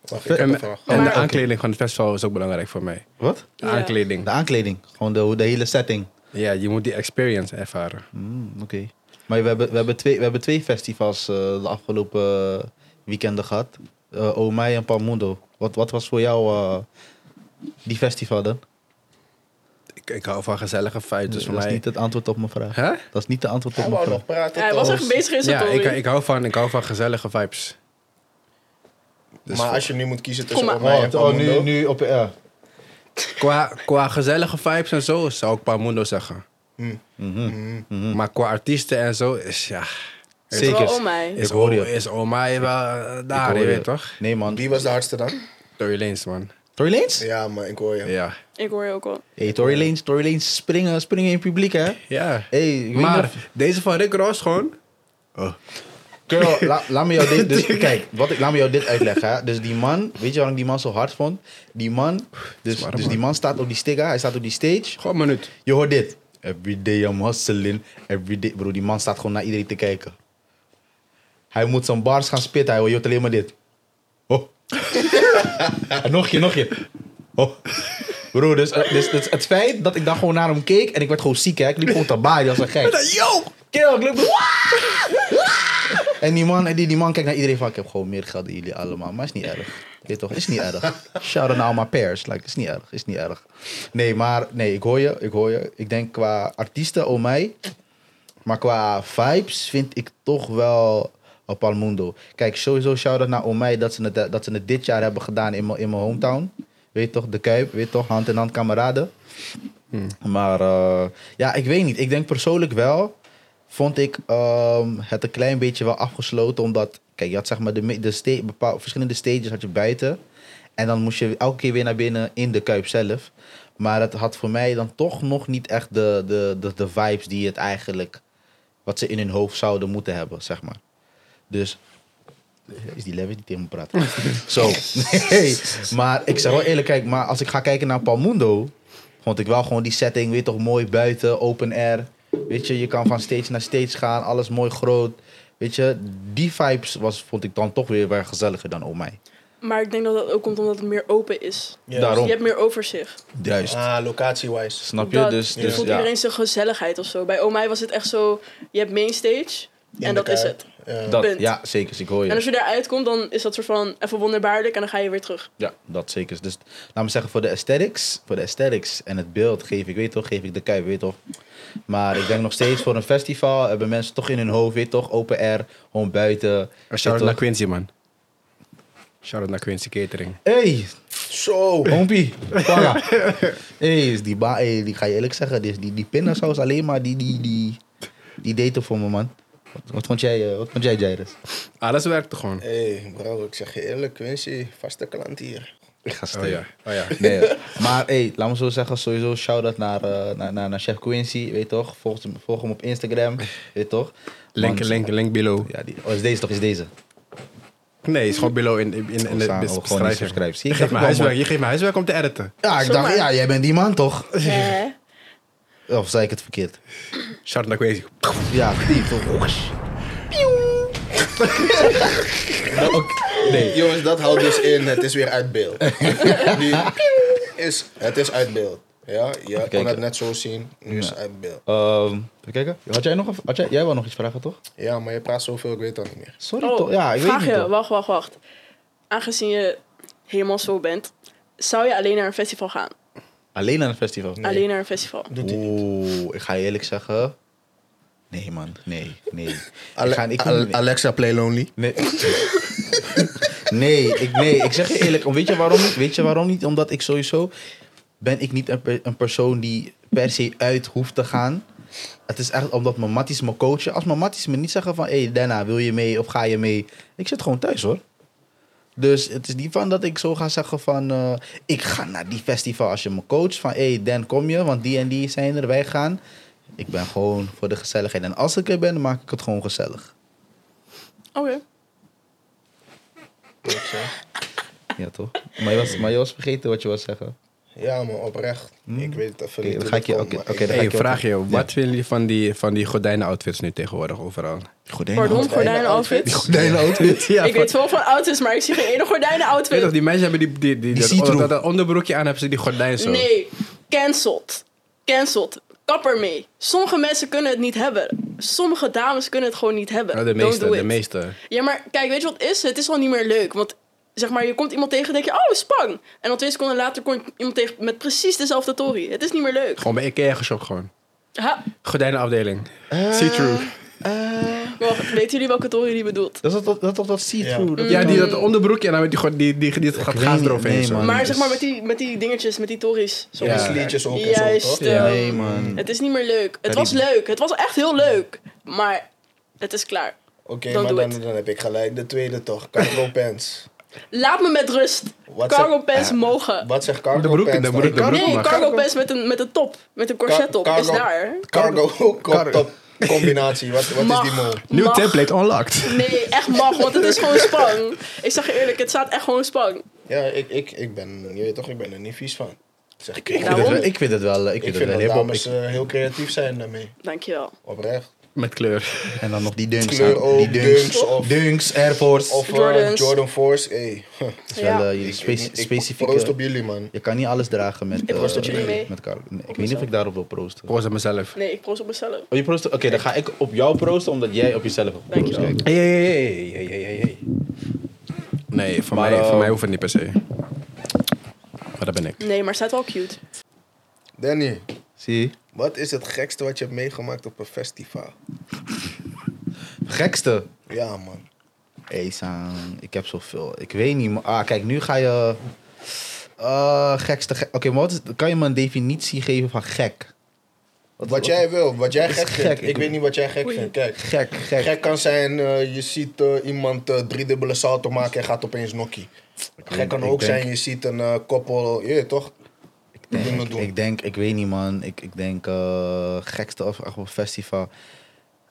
Speaker 2: Wacht, ik heb
Speaker 4: En,
Speaker 2: een vraag.
Speaker 4: en de
Speaker 3: Maar-
Speaker 4: aankleding van het festival is ook belangrijk voor mij.
Speaker 1: wat?
Speaker 4: De
Speaker 3: Ja.
Speaker 1: De
Speaker 4: aankleding.
Speaker 1: aankleding. Gewoon de, de hele setting.
Speaker 4: Ja, je moet die experience ervaren.
Speaker 1: Mm, Oké. Maar we hebben, we, hebben twee, we hebben twee festivals eh, de afgelopen eh, weekenden gehad. Eh Omai en Palmundo. Wat, wat was voor jou eh, die festival dan?
Speaker 4: Ik, ik hou van gezellige feiten. Dus
Speaker 1: dat
Speaker 4: voor
Speaker 1: is
Speaker 4: mij...
Speaker 1: niet het antwoord op mijn vraag.
Speaker 4: Hè?
Speaker 1: Dat is niet de antwoord op
Speaker 2: Hij
Speaker 1: mijn
Speaker 2: wou
Speaker 1: vraag.
Speaker 2: nog praten.
Speaker 3: Ja, hij was
Speaker 2: toch?
Speaker 3: echt bezig in zijn
Speaker 4: Ja, ik,
Speaker 3: tory.
Speaker 4: ik, hou van, ik hou van gezellige vibes. Dus
Speaker 2: maar
Speaker 4: voor-
Speaker 2: als je nu moet kiezen
Speaker 3: Kom
Speaker 2: tussen
Speaker 3: maar.
Speaker 2: Ormai en Pamundo...
Speaker 1: Oh, nu op... ja.
Speaker 4: Ah, qua, qua gezellige vibes en zo zou ik Pamundo zeggen. Mm. Mhm. Mm-hmm. Maar qua artiesten en zo is ja...
Speaker 1: Zeker.
Speaker 3: Vooral om mij.
Speaker 4: Is,
Speaker 1: Ik hoor je.
Speaker 4: O- is Omai wel eh, daar,
Speaker 1: hoor
Speaker 4: je
Speaker 1: je.
Speaker 4: weet toch?
Speaker 1: Nee man.
Speaker 2: Wie was de hardste dan?
Speaker 4: Tory Lanez, man.
Speaker 1: Tory Lanez?
Speaker 2: Ja, maar ik hoor je.
Speaker 4: Ja.
Speaker 3: Ik hoor je ook al.
Speaker 1: Hey, Tory Lanez, Tory Lanez, springen, springen in het publiek hè.
Speaker 4: Ja.
Speaker 1: Hey, ik weet
Speaker 4: maar
Speaker 1: nog-
Speaker 4: deze van Rick Ross gewoon...
Speaker 1: Kerel, la- laat me jou dit. Dus, kijk, wat ik, laat me jou dit uitleggen. Hè. Dus die man, weet je waarom ik die man zo hard vond? Die man, dus,
Speaker 4: Zware
Speaker 1: dus
Speaker 4: man.
Speaker 1: die man staat op die sticker, hij staat op die stage.
Speaker 4: Gewoon een minuut.
Speaker 1: Je hoort dit. Every day I'm hustling. Every day. Bro, die man staat gewoon naar iedereen te kijken. Hij moet zijn bars gaan spitten. Hij hoort alleen maar dit. Ho. en nog een keer, nog een keer. Ho. Bro, dus, eh, dus, dus het feit dat ik dan gewoon naar hem keek en ik werd gewoon ziek, hè. Ik liep gewoon te baaien als een gek.
Speaker 4: Yo!
Speaker 1: Kill, ik liep... En die man, en die, die man kijkt naar iedereen van, ik heb gewoon meer geld dan jullie allemaal. Maar is niet erg. Weet je toch, is niet erg. Shout out naar al mijn pairs. Like, is niet erg, is niet erg. Nee, maar nee, ik hoor je, ik hoor je. Ik denk qua artiesten, oh mij. Maar qua vibes vind ik toch wel op Palmundo. Kijk, sowieso shout out naar Omei dat, ze het, eh, dat ze het dit jaar hebben gedaan in mijn in mijn hometown. Weet je toch, de Kuip, weet je toch, hand in hand kameraden. Maar eh, ja, ik weet niet. Ik denk persoonlijk wel vond ik ehm, het een klein beetje wel afgesloten. Omdat, kijk, je had zeg maar de, me- de sta- bepaal- verschillende stages had je buiten. En dan moest je elke keer weer naar binnen in de Kuip zelf. Maar het had voor mij dan toch nog niet echt de, de, de, de vibes die het eigenlijk... wat ze in hun hoofd zouden moeten hebben, zeg maar. Dus... Is die Levis die tegen me praat? Zo, nee. Maar ik zeg wel eerlijk, kijk, maar als ik ga kijken naar Palmundo... vond ik wel gewoon die setting, weet je toch, mooi buiten, open air. Weet je, je kan van stage naar stage gaan, alles mooi groot. Weet je, die vibes was, vond ik dan toch weer weer gezelliger dan Oh op mij.
Speaker 3: Maar ik denk dat dat ook komt omdat het meer open is.
Speaker 2: Ja.
Speaker 1: Daarom.
Speaker 3: Je hebt meer overzicht.
Speaker 1: Juist.
Speaker 2: Ah, locatie-wise.
Speaker 1: Snap je?
Speaker 3: Dat-
Speaker 1: dus
Speaker 3: Je
Speaker 1: dus
Speaker 3: voelt
Speaker 1: ja.
Speaker 3: iedereen zijn gezelligheid of zo. Bij Omai was het echt zo, je hebt main stage en dat is het.
Speaker 2: Ja.
Speaker 1: Dat,
Speaker 3: punt.
Speaker 1: ja, zeker. Ik hoor
Speaker 3: En als
Speaker 1: je.
Speaker 3: je daaruit komt, dan is dat soort van even wonderbaarlijk en dan ga je weer terug.
Speaker 1: Ja, dat zeker. Dus laat me zeggen, voor de aesthetics, voor de aesthetics en het beeld geef ik, weet toch, geef ik de kuip, weet toch. Maar ik denk nog steeds voor een festival hebben mensen toch in hun hoofd, weet toch, open air, gewoon buiten. weet
Speaker 4: Shout-out
Speaker 1: toch.
Speaker 4: naar Quincy, man. Shout-out naar Quincy Catering.
Speaker 1: Hey,
Speaker 2: Zo.
Speaker 1: Hompie, Kwanga. hey, is die ba hey, die ga je eerlijk zeggen, dus die, die, die pindasaus alleen maar, die, die, die, die deed het voor me, man. Wat, wat vond jij, eh, wat vond jij, Jairus?
Speaker 4: Alles werkte gewoon.
Speaker 2: Hé, hey, bro, ik zeg je eerlijk, Quincy, vaste klant hier.
Speaker 1: Ik ga stil.
Speaker 4: Oh ja, oh ja.
Speaker 1: Nee, ja. maar hey, laat me zo zeggen, sowieso shout-out naar, eh, naar, naar, naar Chef Quincy, weet toch? Volg hem, volg hem op Instagram, weet toch?
Speaker 4: Link,
Speaker 1: Want-
Speaker 4: link, link below.
Speaker 1: Ja, die, oh, is deze toch, is deze.
Speaker 4: Nee, is gewoon below in, in, in,
Speaker 1: Oh,
Speaker 4: de
Speaker 1: staan- oh,
Speaker 4: bes-
Speaker 1: gewoon niet
Speaker 4: beschrijving.
Speaker 1: subscribe. Zie
Speaker 4: Je
Speaker 1: je, kijk
Speaker 4: geeft, me
Speaker 1: ik wel,
Speaker 4: huiswerk,
Speaker 1: man.
Speaker 4: je geeft me huiswerk om te editen.
Speaker 1: Ja, ik dacht,
Speaker 3: Zomaar.
Speaker 1: ja, jij bent die man toch?
Speaker 3: Eh,
Speaker 1: Of zei ik het verkeerd?
Speaker 4: Shout-out naar Quincy.
Speaker 1: Ja, die toch?
Speaker 2: Nee. Jongens, dat houdt dus in, het is weer uit beeld. Die is, het is uit beeld. Ja, je kon het
Speaker 1: kijken.
Speaker 2: net zo zien, nu is het uit beeld.
Speaker 1: Ehm, even kijken. Had jij nog, een- had jij, jij wou nog iets vragen, toch?
Speaker 2: Ja, maar je praat zoveel, ik weet dat niet meer.
Speaker 1: Sorry,
Speaker 3: Oh,
Speaker 1: toch? Ja, ik
Speaker 3: vraag
Speaker 1: weet niet.
Speaker 3: je,
Speaker 1: toch?
Speaker 3: wacht, wacht, wacht. Aangezien je helemaal zo bent, zou je alleen naar een festival gaan?
Speaker 1: Alleen aan het festival?
Speaker 3: Alleen naar een festival.
Speaker 2: Doet hij
Speaker 1: Oeh, ik ga je eerlijk zeggen. Nee, man. Nee, nee.
Speaker 2: Ale-
Speaker 1: ik ga, ik,
Speaker 2: Ale- Alexa, play lonely.
Speaker 1: nee. nee, ik, nee, ik zeg je eerlijk. om- Weet je waarom niet? Weet je waarom niet? Omdat ik sowieso... Ben ik niet een, per- een persoon die per se uit hoeft te gaan. Het is echt omdat mijn matties me coachen. Als mijn matties me niet zeggen van... Hé, hey, Dana, wil je mee of ga je mee? Ik zit gewoon thuis, hoor. Dus het is niet van dat ik zo ga zeggen van... eh, ik ga naar die festival als je me coacht. Van, hé, hey, Dan, kom je? Want die en die zijn er, wij gaan. Ik ben gewoon voor de gezelligheid. En als ik er ben, dan maak ik het gewoon gezellig.
Speaker 3: Oké.
Speaker 1: Ja, toch? Maar je was, maar je was vergeten wat je was zeggen.
Speaker 2: Ja, man, oprecht. Ik weet het even
Speaker 1: Hmm? Oké, dan
Speaker 2: niet. hoe
Speaker 1: ga ik
Speaker 2: dat
Speaker 1: je-
Speaker 2: komt,
Speaker 1: oké,
Speaker 2: maar
Speaker 1: oké,
Speaker 2: ik-
Speaker 1: dan
Speaker 4: Hey,
Speaker 1: ik je
Speaker 4: vraag
Speaker 1: op-
Speaker 4: je, wat vinden jullie van die, van die gordijnen-outfits nu tegenwoordig overal?
Speaker 1: Gordijnen
Speaker 3: Pardon,
Speaker 1: outfit.
Speaker 3: gordijnen-outfits?
Speaker 1: Gordijnen outfit.
Speaker 4: ja,
Speaker 3: ik weet wel van auto's, maar ik zie geen ene
Speaker 4: Weet toch,
Speaker 3: gordijnen-outfit.
Speaker 4: die mensen hebben die, die, die,
Speaker 1: Die
Speaker 4: dat-
Speaker 1: see-through.
Speaker 4: dat, dat onderbroekje aan, hebben ze die gordijnen zo.
Speaker 3: Nee, cancelled. Cancelled. Kapper mee. Sommige mensen kunnen het niet hebben. Sommige dames kunnen het gewoon niet hebben.
Speaker 4: Nou, de
Speaker 3: Don't
Speaker 4: meeste,
Speaker 3: do
Speaker 4: de
Speaker 3: it.
Speaker 4: meeste.
Speaker 3: Ja, maar kijk, weet je wat het is? Het is al niet meer leuk. Want zeg maar, je komt iemand tegen en denk je, oh, spang. En dan twee seconden later komt iemand tegen met precies dezelfde tory. Het is niet meer leuk.
Speaker 4: Gewoon bij Ikea geshopt gewoon.
Speaker 3: Ha,
Speaker 4: Gordijnenafdeling.
Speaker 1: Ah.
Speaker 4: See-through.
Speaker 3: wacht, weten jullie welke tory die bedoelt?
Speaker 1: Dat is toch dat, dat, dat see-through?
Speaker 2: Ja.
Speaker 1: dat-
Speaker 4: Ja, die dat onderbroekje en dan met die, gor- die, die, die, die gaat
Speaker 1: weet
Speaker 4: gaas
Speaker 1: niet,
Speaker 4: eroverheen.
Speaker 1: nee,
Speaker 4: zo.
Speaker 1: man.
Speaker 3: Mm. Maar
Speaker 1: dus-
Speaker 3: zeg maar met die, met die dingetjes, met die tories.
Speaker 4: Ja.
Speaker 2: Die liedjes ook en zo,
Speaker 3: Juist.
Speaker 2: toch?
Speaker 4: Ja.
Speaker 3: ehm,
Speaker 1: Nee, man.
Speaker 3: Het is niet meer leuk. Het
Speaker 1: Ja,
Speaker 3: was
Speaker 1: die-
Speaker 3: leuk. Het was echt heel leuk. Maar het is klaar.
Speaker 2: Oké,
Speaker 3: Don't
Speaker 2: maar
Speaker 3: do
Speaker 2: dan,
Speaker 3: it.
Speaker 2: dan heb ik gelijk de tweede toch. Cargo pants.
Speaker 3: Laat me met rust.
Speaker 2: Wat
Speaker 3: Cargo
Speaker 2: zeg-
Speaker 3: pants
Speaker 2: Ja.
Speaker 3: mogen.
Speaker 2: Wat zegt cargo
Speaker 4: De broek-
Speaker 2: pants?
Speaker 4: de
Speaker 2: dan?
Speaker 4: broek- de broek-
Speaker 3: Nee,
Speaker 4: maar.
Speaker 3: cargo pants met een, met een top. Met een corset op. Is
Speaker 2: cargo-
Speaker 3: daar.
Speaker 2: Cargo
Speaker 4: Cargo.
Speaker 2: top combinatie. Wat, wat is
Speaker 3: Mag.
Speaker 2: die mol?
Speaker 4: Nieuw
Speaker 3: Mag.
Speaker 4: template unlocked.
Speaker 3: Nee, echt mag, want het is gewoon spang. Ik zeg je eerlijk, het staat echt gewoon spang.
Speaker 2: Ja, ik, ik, ik ben, je weet toch, ik ben er niet vies van. Zeg ik.
Speaker 1: Ik
Speaker 2: Ik,
Speaker 1: vind het
Speaker 3: Daarom?
Speaker 1: wel- Ik vind het wel. eh, Ik vind het
Speaker 2: vind
Speaker 1: wel
Speaker 2: dat
Speaker 1: hip-hop.
Speaker 2: dames
Speaker 1: Ik-
Speaker 2: eh, heel creatief zijn daarmee.
Speaker 3: Dankjewel.
Speaker 2: Oprecht.
Speaker 4: Met kleur.
Speaker 1: En dan nog die dunks.
Speaker 2: Kleur
Speaker 1: aan-
Speaker 2: ook,
Speaker 1: Die dunks.
Speaker 2: dunks of-
Speaker 1: Dunks, Air Force.
Speaker 2: Of eh,
Speaker 3: Jordans.
Speaker 2: Jordan Force, hey.
Speaker 1: Dat is wel
Speaker 3: Ja.
Speaker 1: eh, jullie spe-
Speaker 2: Ik- ik- ik proost op
Speaker 1: specifieke...
Speaker 2: jullie, man.
Speaker 1: Je kan niet alles dragen met...
Speaker 3: Ik proost op
Speaker 1: eh,
Speaker 3: jullie mee.
Speaker 1: Met cargo. Nee, ik weet niet of ik daarop wil proosten.
Speaker 4: Proost aan mezelf.
Speaker 3: Nee, ik proost op mezelf.
Speaker 1: Oh, je proost? Oké, dan ga ik op jou proosten, omdat jij op jezelf hebt geproost.
Speaker 3: Dankjewel.
Speaker 1: Kijk.
Speaker 4: Hey, hey, hey, hey, hey, hey, hey. Nee, voor,
Speaker 1: Maar,
Speaker 4: mij,
Speaker 1: eh,
Speaker 4: voor mij hoeft het niet per se. Maar dat ben ik.
Speaker 3: Nee, maar het staat wel cute.
Speaker 2: Danny,
Speaker 1: Zie
Speaker 2: wat is het gekste wat je hebt meegemaakt op een festival?
Speaker 1: Gekste.
Speaker 2: Ja, man.
Speaker 1: Hey, Saan, ik heb zoveel. Ik weet niet. maar- Ah, kijk, nu ga je. eh, gekste. gek- Oké, maar wat is, kan je me een definitie geven van gek? Wat,
Speaker 2: Wat jij wil, wat jij
Speaker 1: is
Speaker 2: gek
Speaker 1: gek,
Speaker 2: vindt.
Speaker 1: ik
Speaker 2: Ik weet
Speaker 1: doe-
Speaker 2: niet wat jij gek
Speaker 3: Oei.
Speaker 2: vindt. Kijk,
Speaker 1: Gek, gek.
Speaker 2: gek kan zijn, eh, je ziet eh, iemand eh, drie dubbele salto maken en gaat opeens nokkie. Gek
Speaker 1: denk-
Speaker 2: kan
Speaker 1: ik
Speaker 2: ook
Speaker 1: denk-
Speaker 2: zijn, je ziet een eh, koppel, je weet toch?
Speaker 1: Nee,
Speaker 2: Doen het
Speaker 1: ik,
Speaker 2: doen.
Speaker 1: ik denk, ik weet niet man. Ik, ik denk eh, gekste of echt wel festival.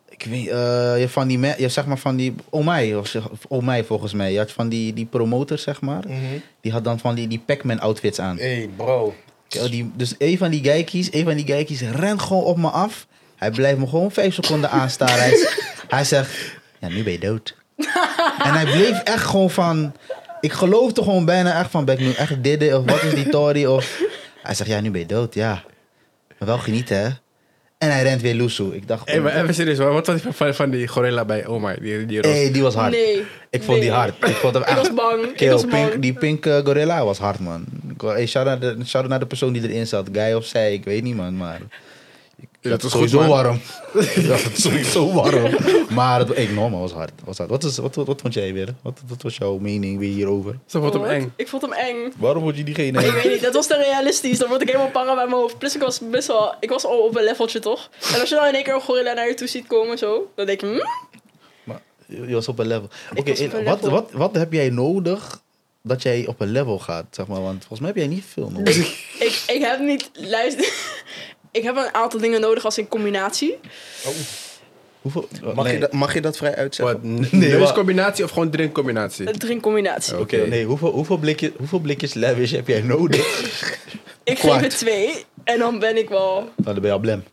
Speaker 1: Ik weet, eh, je hebt van die, me- je hebt zeg maar van die, oh mij, of, zeg- of oh mij volgens mij. Je had van die, die promotor zeg maar.
Speaker 2: Mhm.
Speaker 1: Die had dan van die, die Pac-Man outfits aan.
Speaker 2: hey, bro.
Speaker 1: Ja, die, dus een van die geikies, een van die geikies rent gewoon op me af. Hij blijft me gewoon vijf seconden aanstaren. Hij, z- hij zegt, ja, nu ben je dood. en hij bleef echt gewoon van... Ik geloofde gewoon bijna echt van, ben ik nu echt dit of wat is die Tory? Of, hij zegt, ja, nu ben je dood, ja. Maar wel genieten, hè. En hij rent weer loesoe. Ik dacht, "Oh,
Speaker 4: Hé,
Speaker 1: hey,
Speaker 4: maar even serieus, wat was die van, van die gorilla bij Oma? Die, die roze?
Speaker 1: die was hard.
Speaker 3: Nee.
Speaker 1: Ik vond die
Speaker 3: Nee.
Speaker 1: hard. Ik vond hem
Speaker 3: Ik
Speaker 1: echt...
Speaker 3: was bang. ik
Speaker 1: Kill,
Speaker 3: was bang.
Speaker 1: pink, die pink eh, gorilla was hard, man. Ik wou- Hey, shout out de- shout out naar de persoon die erin zat. Guy of zij, ik weet niet, man. Maar
Speaker 4: Ja,
Speaker 1: dat
Speaker 4: dat
Speaker 1: is
Speaker 4: is
Speaker 1: sowieso
Speaker 4: goed, maar-
Speaker 1: warm. dat is sowieso warm. maar het, hey, normaal was hard. Was hard. Wat, is, wat, wat, wat vond jij weer? Wat, wat was jouw mening weer hierover?
Speaker 4: Ze vond hem
Speaker 3: Wat?
Speaker 4: eng.
Speaker 3: Ik vond hem eng.
Speaker 1: Waarom word je diegene?
Speaker 3: Ik weet niet, dat was te realistisch. Dan word ik helemaal para bij mijn hoofd. Plus ik was best wel... Ik was al op een leveltje, toch? En als je dan in één keer een gorilla naar je toe ziet komen, zo... Dan denk je... hm?
Speaker 1: Maar je je was op een level. Oké,
Speaker 3: was op
Speaker 1: en
Speaker 3: een
Speaker 1: wat,
Speaker 3: level.
Speaker 1: Wat, wat heb jij nodig dat jij op een level gaat? Zeg maar, want volgens mij heb jij niet veel nodig.
Speaker 3: Ik, ik heb niet... Luister... ik heb een aantal dingen nodig als in combinatie.
Speaker 1: Hoeveel?
Speaker 2: Mag,
Speaker 1: nee.
Speaker 2: je dat, mag je dat vrij
Speaker 4: Wat?
Speaker 2: uitzeggen?
Speaker 1: Nee,
Speaker 4: Nee, combinatie of gewoon drinkcombinatie?
Speaker 3: Een drinkcombinatie.
Speaker 1: Oké,
Speaker 4: Oké.
Speaker 1: nee, hoeveel, hoeveel, blikjes, hoeveel blikjes lavish heb jij nodig?
Speaker 3: Ik
Speaker 1: Kwart.
Speaker 3: geef het twee. En dan ben ik wel...
Speaker 1: Nou, dan ben je al blem.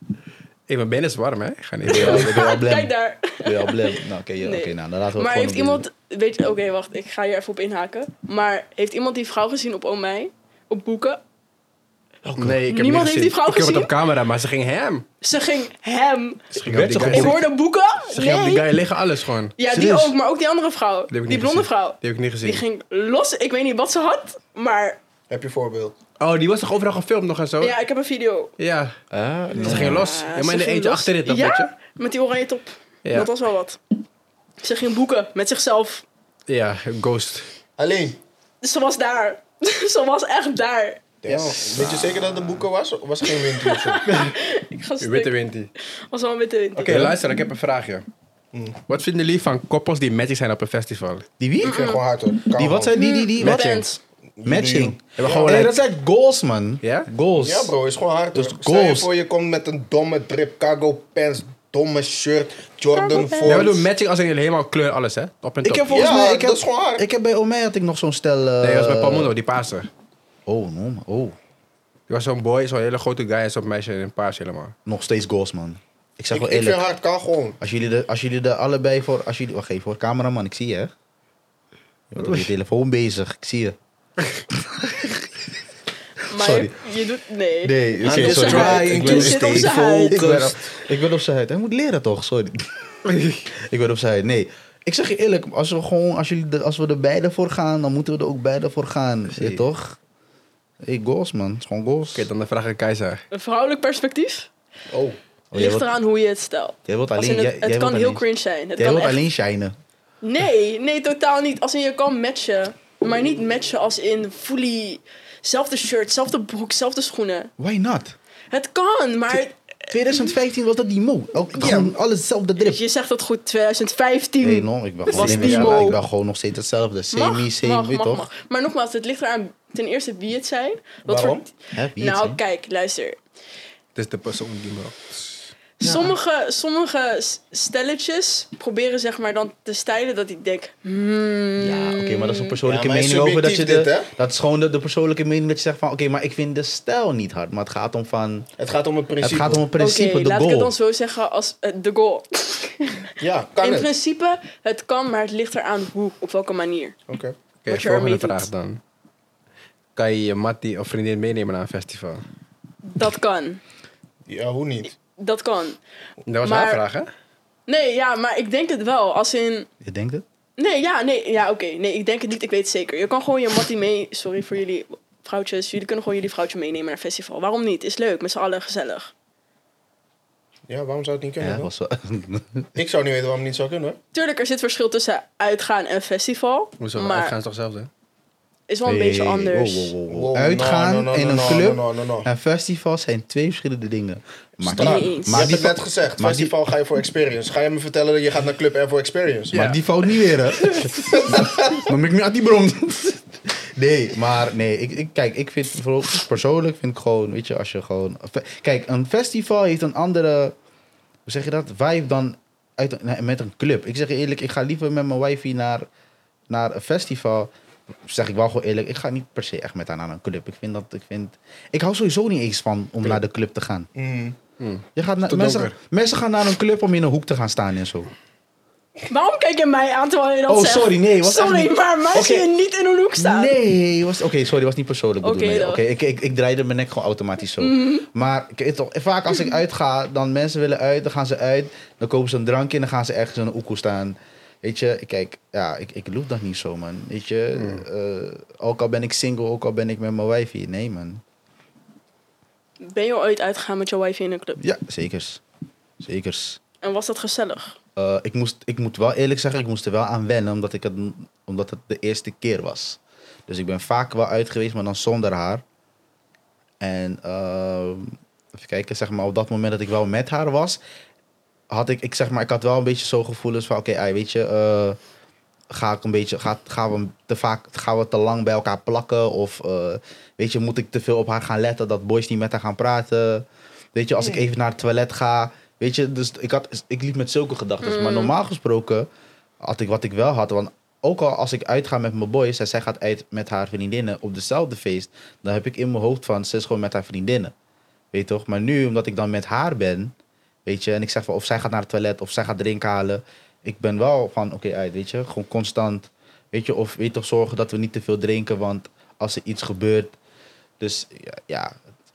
Speaker 4: Hé, mijn benen is warm, hè? Ik ga
Speaker 1: Dan ben
Speaker 4: niet.
Speaker 1: je al- dan ben je al blem.
Speaker 3: Kijk daar.
Speaker 1: Ben je al blem. Nou, oké, ja,
Speaker 3: Nee.
Speaker 1: oké, nou, dan laten we het
Speaker 3: Maar
Speaker 1: gewoon
Speaker 3: heeft
Speaker 1: op
Speaker 3: iemand... Weet je... Oké, wacht. Ik ga hier even op inhaken. Maar heeft iemand die vrouw gezien op Oom Mij? Op boeken?
Speaker 4: Nee, ik heb
Speaker 3: Niemand
Speaker 4: niet
Speaker 3: heeft die vrouw
Speaker 4: gezien. Ik heb het
Speaker 3: gezien?
Speaker 4: op camera, maar ze ging hem.
Speaker 3: Ze ging hem.
Speaker 4: Ze ging,
Speaker 1: werd
Speaker 4: op
Speaker 1: ze
Speaker 4: die, guy,
Speaker 3: Ik
Speaker 1: gewoon-
Speaker 4: ze,
Speaker 3: hoorde boeken.
Speaker 4: ging op die
Speaker 3: Nee.
Speaker 4: guy liggen, alles gewoon. Die
Speaker 3: Ja, die
Speaker 1: Serieus?
Speaker 3: ook, maar ook die andere vrouw.
Speaker 4: heb ik
Speaker 3: Die,
Speaker 4: niet
Speaker 3: blonde
Speaker 4: gezien.
Speaker 3: vrouw.
Speaker 4: Die heb ik niet gezien.
Speaker 3: Die ging los. Ik weet niet wat ze had, maar
Speaker 2: Heb je voorbeeld?
Speaker 4: Oh, die was toch overal gefilmd nog en
Speaker 1: Oh.
Speaker 4: zo?
Speaker 3: ja, ik heb een video.
Speaker 4: Ja.
Speaker 1: nee.
Speaker 4: Ze ging los.
Speaker 3: Ja,
Speaker 4: Ja,
Speaker 3: ze
Speaker 4: maar in de
Speaker 3: ging
Speaker 4: eentje
Speaker 3: los.
Speaker 4: achter dit, dat
Speaker 3: Ja,
Speaker 4: weet je?
Speaker 3: met die oranje top.
Speaker 4: Ja.
Speaker 3: Dat was wel wat. Ze ging boeken met zichzelf.
Speaker 4: Ja, Ghost.
Speaker 2: Alleen.
Speaker 3: Dus ze was daar. ze was echt daar.
Speaker 2: Damn. Weet je zeker dat het een boeken was? Of was het geen wind of zo?
Speaker 3: Ik ga
Speaker 4: U
Speaker 3: stuk.
Speaker 4: witte wintie.
Speaker 3: Was wel een witte wind.
Speaker 4: Oké, luister, ik heb een vraagje. Wat vinden jullie van koppels die matching zijn op een festival?
Speaker 1: Die wie?
Speaker 2: Ik vind het gewoon hard hoor. Kan
Speaker 1: Die wat
Speaker 2: gewoon.
Speaker 1: zijn die, die, die?
Speaker 3: Wat
Speaker 1: Matching.
Speaker 3: bands.
Speaker 1: Matching.
Speaker 4: Hebben gewoon
Speaker 1: Hey,
Speaker 4: like-
Speaker 1: dat zijn goals, man.
Speaker 4: Ja?
Speaker 1: Goals.
Speaker 2: Ja bro, is gewoon hard hoor.
Speaker 1: Dus
Speaker 2: Stel je
Speaker 1: goals.
Speaker 2: voor je komt met een domme drip, cargo pants, domme shirt, Jordan
Speaker 3: pants.
Speaker 4: Nee, we doen
Speaker 2: Force.
Speaker 4: matching als in helemaal kleur alles, hè? Op en top.
Speaker 1: Ik heb volgens
Speaker 2: Ja,
Speaker 1: mij... Ik
Speaker 2: dat
Speaker 1: heb,
Speaker 2: is gewoon hard.
Speaker 1: Ik heb bij Omei had ik nog zo'n stel... eh,
Speaker 4: Nee, dat was bij Palmundo, die paarse. Die
Speaker 1: Oh, no, man. oh.
Speaker 4: was zo'n boy, zo'n hele grote guy en zo'n meisje in paars helemaal.
Speaker 1: Nog steeds goals, man. Ik zeg
Speaker 2: Ik,
Speaker 1: wel
Speaker 2: ik vind
Speaker 1: eerlijk.
Speaker 2: hard kan gewoon.
Speaker 1: Als jullie, de, als jullie de allebei voor... Als jullie, wacht even, voor cameraman, ik zie je, hè? Je bent op je telefoon bezig, ik zie je.
Speaker 3: Maar
Speaker 1: Sorry.
Speaker 3: Je, je doet... Nee.
Speaker 1: Nee,
Speaker 3: sorry, sorry.
Speaker 2: Trying
Speaker 1: Ik
Speaker 2: to
Speaker 1: ben-
Speaker 3: zit op
Speaker 2: stay
Speaker 3: zijn huid.
Speaker 1: Ik ben,
Speaker 2: focused.
Speaker 1: ik ben op zijn huid. Hij moet leren toch? Sorry. ik ben op zijn huid. Nee. Ik zeg je eerlijk, als we, gewoon, als, jullie de- als we er beide voor gaan, dan moeten we er ook beide voor gaan. Weet je toch? Hey, goals man. Het is gewoon goals.
Speaker 4: Oké, dan de vraag aan Keizer.
Speaker 3: Een vrouwelijk perspectief
Speaker 2: Oh.
Speaker 1: Oh, jij,
Speaker 3: ligt
Speaker 1: wilt,
Speaker 3: eraan hoe je het stelt.
Speaker 1: jij wilt
Speaker 3: Als
Speaker 1: alleen...
Speaker 3: in het
Speaker 1: jij-
Speaker 3: het
Speaker 1: jij
Speaker 3: kan
Speaker 1: wilt
Speaker 3: heel
Speaker 1: alleen-
Speaker 3: cringe zijn. Het
Speaker 1: Jij
Speaker 3: kan
Speaker 1: wilt
Speaker 3: echt
Speaker 1: alleen shinen.
Speaker 3: Nee, nee, totaal niet. Als in je kan matchen. Maar niet matchen als in fully. Zelfde shirt, zelfde broek, zelfde schoenen.
Speaker 1: Why not?
Speaker 3: Het kan, maar
Speaker 1: 2015 was dat die mo. Ook, Gewoon alles hetzelfde drip.
Speaker 3: dus je zegt dat goed. 2015.
Speaker 1: Nee, no, ik ben, gewoon,
Speaker 3: was
Speaker 1: ik,
Speaker 3: die
Speaker 1: ben,
Speaker 3: mo.
Speaker 1: ik ben gewoon nog steeds hetzelfde.
Speaker 3: Mag,
Speaker 1: Semi, semi,
Speaker 3: mag,
Speaker 1: weet
Speaker 3: mag,
Speaker 1: toch?
Speaker 3: mag. Maar nogmaals, het ligt eraan ten eerste wie het zijn. Wat
Speaker 2: Waarom?
Speaker 3: Voor...
Speaker 1: Hè, wie het
Speaker 3: nou,
Speaker 1: zijn?
Speaker 3: kijk, luister.
Speaker 4: Het is de persoon die me...
Speaker 3: Sommige, sommige s- stelletjes proberen zeg maar dan te stijlen dat ik denk... hmm,
Speaker 1: Ja, oké, maar dat is een persoonlijke
Speaker 2: Mm. Ja, maar
Speaker 1: mening over dat je
Speaker 2: subjectief
Speaker 1: de,
Speaker 2: dit, hè?
Speaker 1: dat is gewoon de, de persoonlijke mening dat je zegt van oké, maar ik vind de stijl niet hard, maar het gaat om van
Speaker 2: Het gaat om het
Speaker 1: het
Speaker 2: principe.
Speaker 1: gaat om het
Speaker 3: Oké,
Speaker 1: principe de
Speaker 3: laat ik het
Speaker 1: goal.
Speaker 3: dan zo zeggen als eh, de goal.
Speaker 2: Ja, kan
Speaker 3: In
Speaker 2: het.
Speaker 3: principe, het kan, maar het ligt eraan hoe, op welke manier.
Speaker 2: Oké.
Speaker 4: Oké,
Speaker 3: Wat je
Speaker 4: volgende
Speaker 3: ermee doet.
Speaker 4: vraag dan. Kan je je mattie of vriendin meenemen naar een festival?
Speaker 3: Dat kan.
Speaker 2: Ja, hoe niet?
Speaker 3: Dat kan.
Speaker 4: Dat was
Speaker 3: Maar-
Speaker 4: haar vraag, hè?
Speaker 3: Nee, ja, maar ik denk het wel. Als in...
Speaker 1: Je denkt het?
Speaker 3: Nee, ja, nee, ja, oké. Nee, ik denk het niet. Ik weet het zeker. Je kan gewoon je mattie mee... Sorry voor jullie vrouwtjes. Jullie kunnen gewoon jullie vrouwtje meenemen naar een festival. Waarom niet? Is leuk. Met z'n allen gezellig.
Speaker 2: Ja, waarom zou het niet
Speaker 1: Ja,
Speaker 2: kunnen? hoor?
Speaker 1: was wel.
Speaker 2: Ik zou niet weten waarom het niet zou kunnen. hoor.
Speaker 3: Tuurlijk, er zit verschil tussen uitgaan en festival.
Speaker 4: Hoezo?
Speaker 3: maar
Speaker 4: Uitgaan is toch hetzelfde?
Speaker 3: is wel een beetje anders.
Speaker 1: wow, wow, wow.
Speaker 2: Wow,
Speaker 1: Uitgaan
Speaker 2: no, no, no,
Speaker 1: in
Speaker 2: no,
Speaker 1: een
Speaker 2: no,
Speaker 1: club
Speaker 2: no, no, no, no.
Speaker 1: en festivals zijn twee verschillende dingen. Maar
Speaker 3: Stop.
Speaker 1: die,
Speaker 2: Maar
Speaker 3: Eens.
Speaker 2: je
Speaker 1: maar
Speaker 2: hebt
Speaker 1: die,
Speaker 2: het net
Speaker 1: fout,
Speaker 2: gezegd.
Speaker 1: maar
Speaker 2: festival ga je voor experience. Ga je me vertellen dat je gaat naar Club Air voor experience?
Speaker 1: maar
Speaker 4: Ja.
Speaker 1: die fout niet weer, hè? Maar ben ik nu uit die bron. Nee, maar nee, ik, ik, kijk, ik vind vooral- persoonlijk vind ik gewoon, weet je, als je gewoon. Kijk, een festival heeft een andere, hoe zeg je dat, vibe dan uit, een- nee, met een club. Ik zeg je eerlijk, ik ga liever met mijn wifey naar, naar een festival. Zeg ik wel gewoon eerlijk, ik ga niet per se echt met haar naar een club. Ik vind dat, ik vind. Ik hou sowieso niet eens van om naar de club te gaan.
Speaker 2: Mm.
Speaker 1: Je gaat naar,
Speaker 4: te
Speaker 1: mensen,
Speaker 4: donker.
Speaker 1: mensen gaan naar een club om in een hoek te gaan staan en zo.
Speaker 3: Waarom kijk je mij aan terwijl je dat
Speaker 1: Oh,
Speaker 3: zegt?
Speaker 1: sorry, nee, was echt
Speaker 3: sorry,
Speaker 1: niet-
Speaker 3: maar mij
Speaker 1: Oké.
Speaker 3: zie je niet in een hoek staan.
Speaker 1: Nee, was, oké, sorry, was niet persoonlijk bedoeld.
Speaker 3: Oké,
Speaker 1: nee.
Speaker 3: dan. Mhm.
Speaker 1: Oké, ik, ik, ik draaide mijn nek gewoon automatisch zo. Maar ik, weet toch, vaak als ik uitga, dan mensen willen uit, dan gaan ze uit. Dan kopen ze een drankje en dan gaan ze ergens in een oekoe staan. Weet je, ik kijk, ja, ik, ik loop dat niet zo, man. Weet je, eh, ook al ben ik single, ook al ben ik met mijn wifey. Nee, man.
Speaker 3: Ben je ooit uitgegaan met jouw wife in een club?
Speaker 1: Ja, zekers. Zekers.
Speaker 3: En was dat gezellig?
Speaker 1: Eh, ik, moest, ik moet wel eerlijk zeggen, ik moest er wel aan wennen, omdat, ik het, omdat het de eerste keer was. Dus ik ben vaak wel uit geweest, maar dan zonder haar. En ehm, even kijken, zeg maar, op dat moment dat ik wel met haar was, had ik, ik zeg maar, ik had wel een beetje zo gevoelens van, oké, ai, weet je, eh, ga ik een beetje, gaat, gaan we te vaak, gaan we te lang bij elkaar plakken? Of, eh, weet je, moet ik te veel op haar gaan letten, dat boys niet met haar gaan praten? Weet je, als ik even naar het toilet ga, weet je, dus ik, had, ik liep met zulke gedachten. Maar normaal gesproken had ik wat ik wel had, want ook al als ik uitga met mijn boys en zij gaat uit met haar vriendinnen op dezelfde feest, dan heb ik in mijn hoofd van, ze is gewoon met haar vriendinnen. Weet je toch? Maar nu, omdat ik dan met haar ben, weet je, en ik zeg van of zij gaat naar het toilet of zij gaat drinken halen. Ik ben wel van, oké, uit, weet je, gewoon constant, weet je, of weet je toch zorgen dat we niet te veel drinken, want als er iets gebeurt, dus ja, ja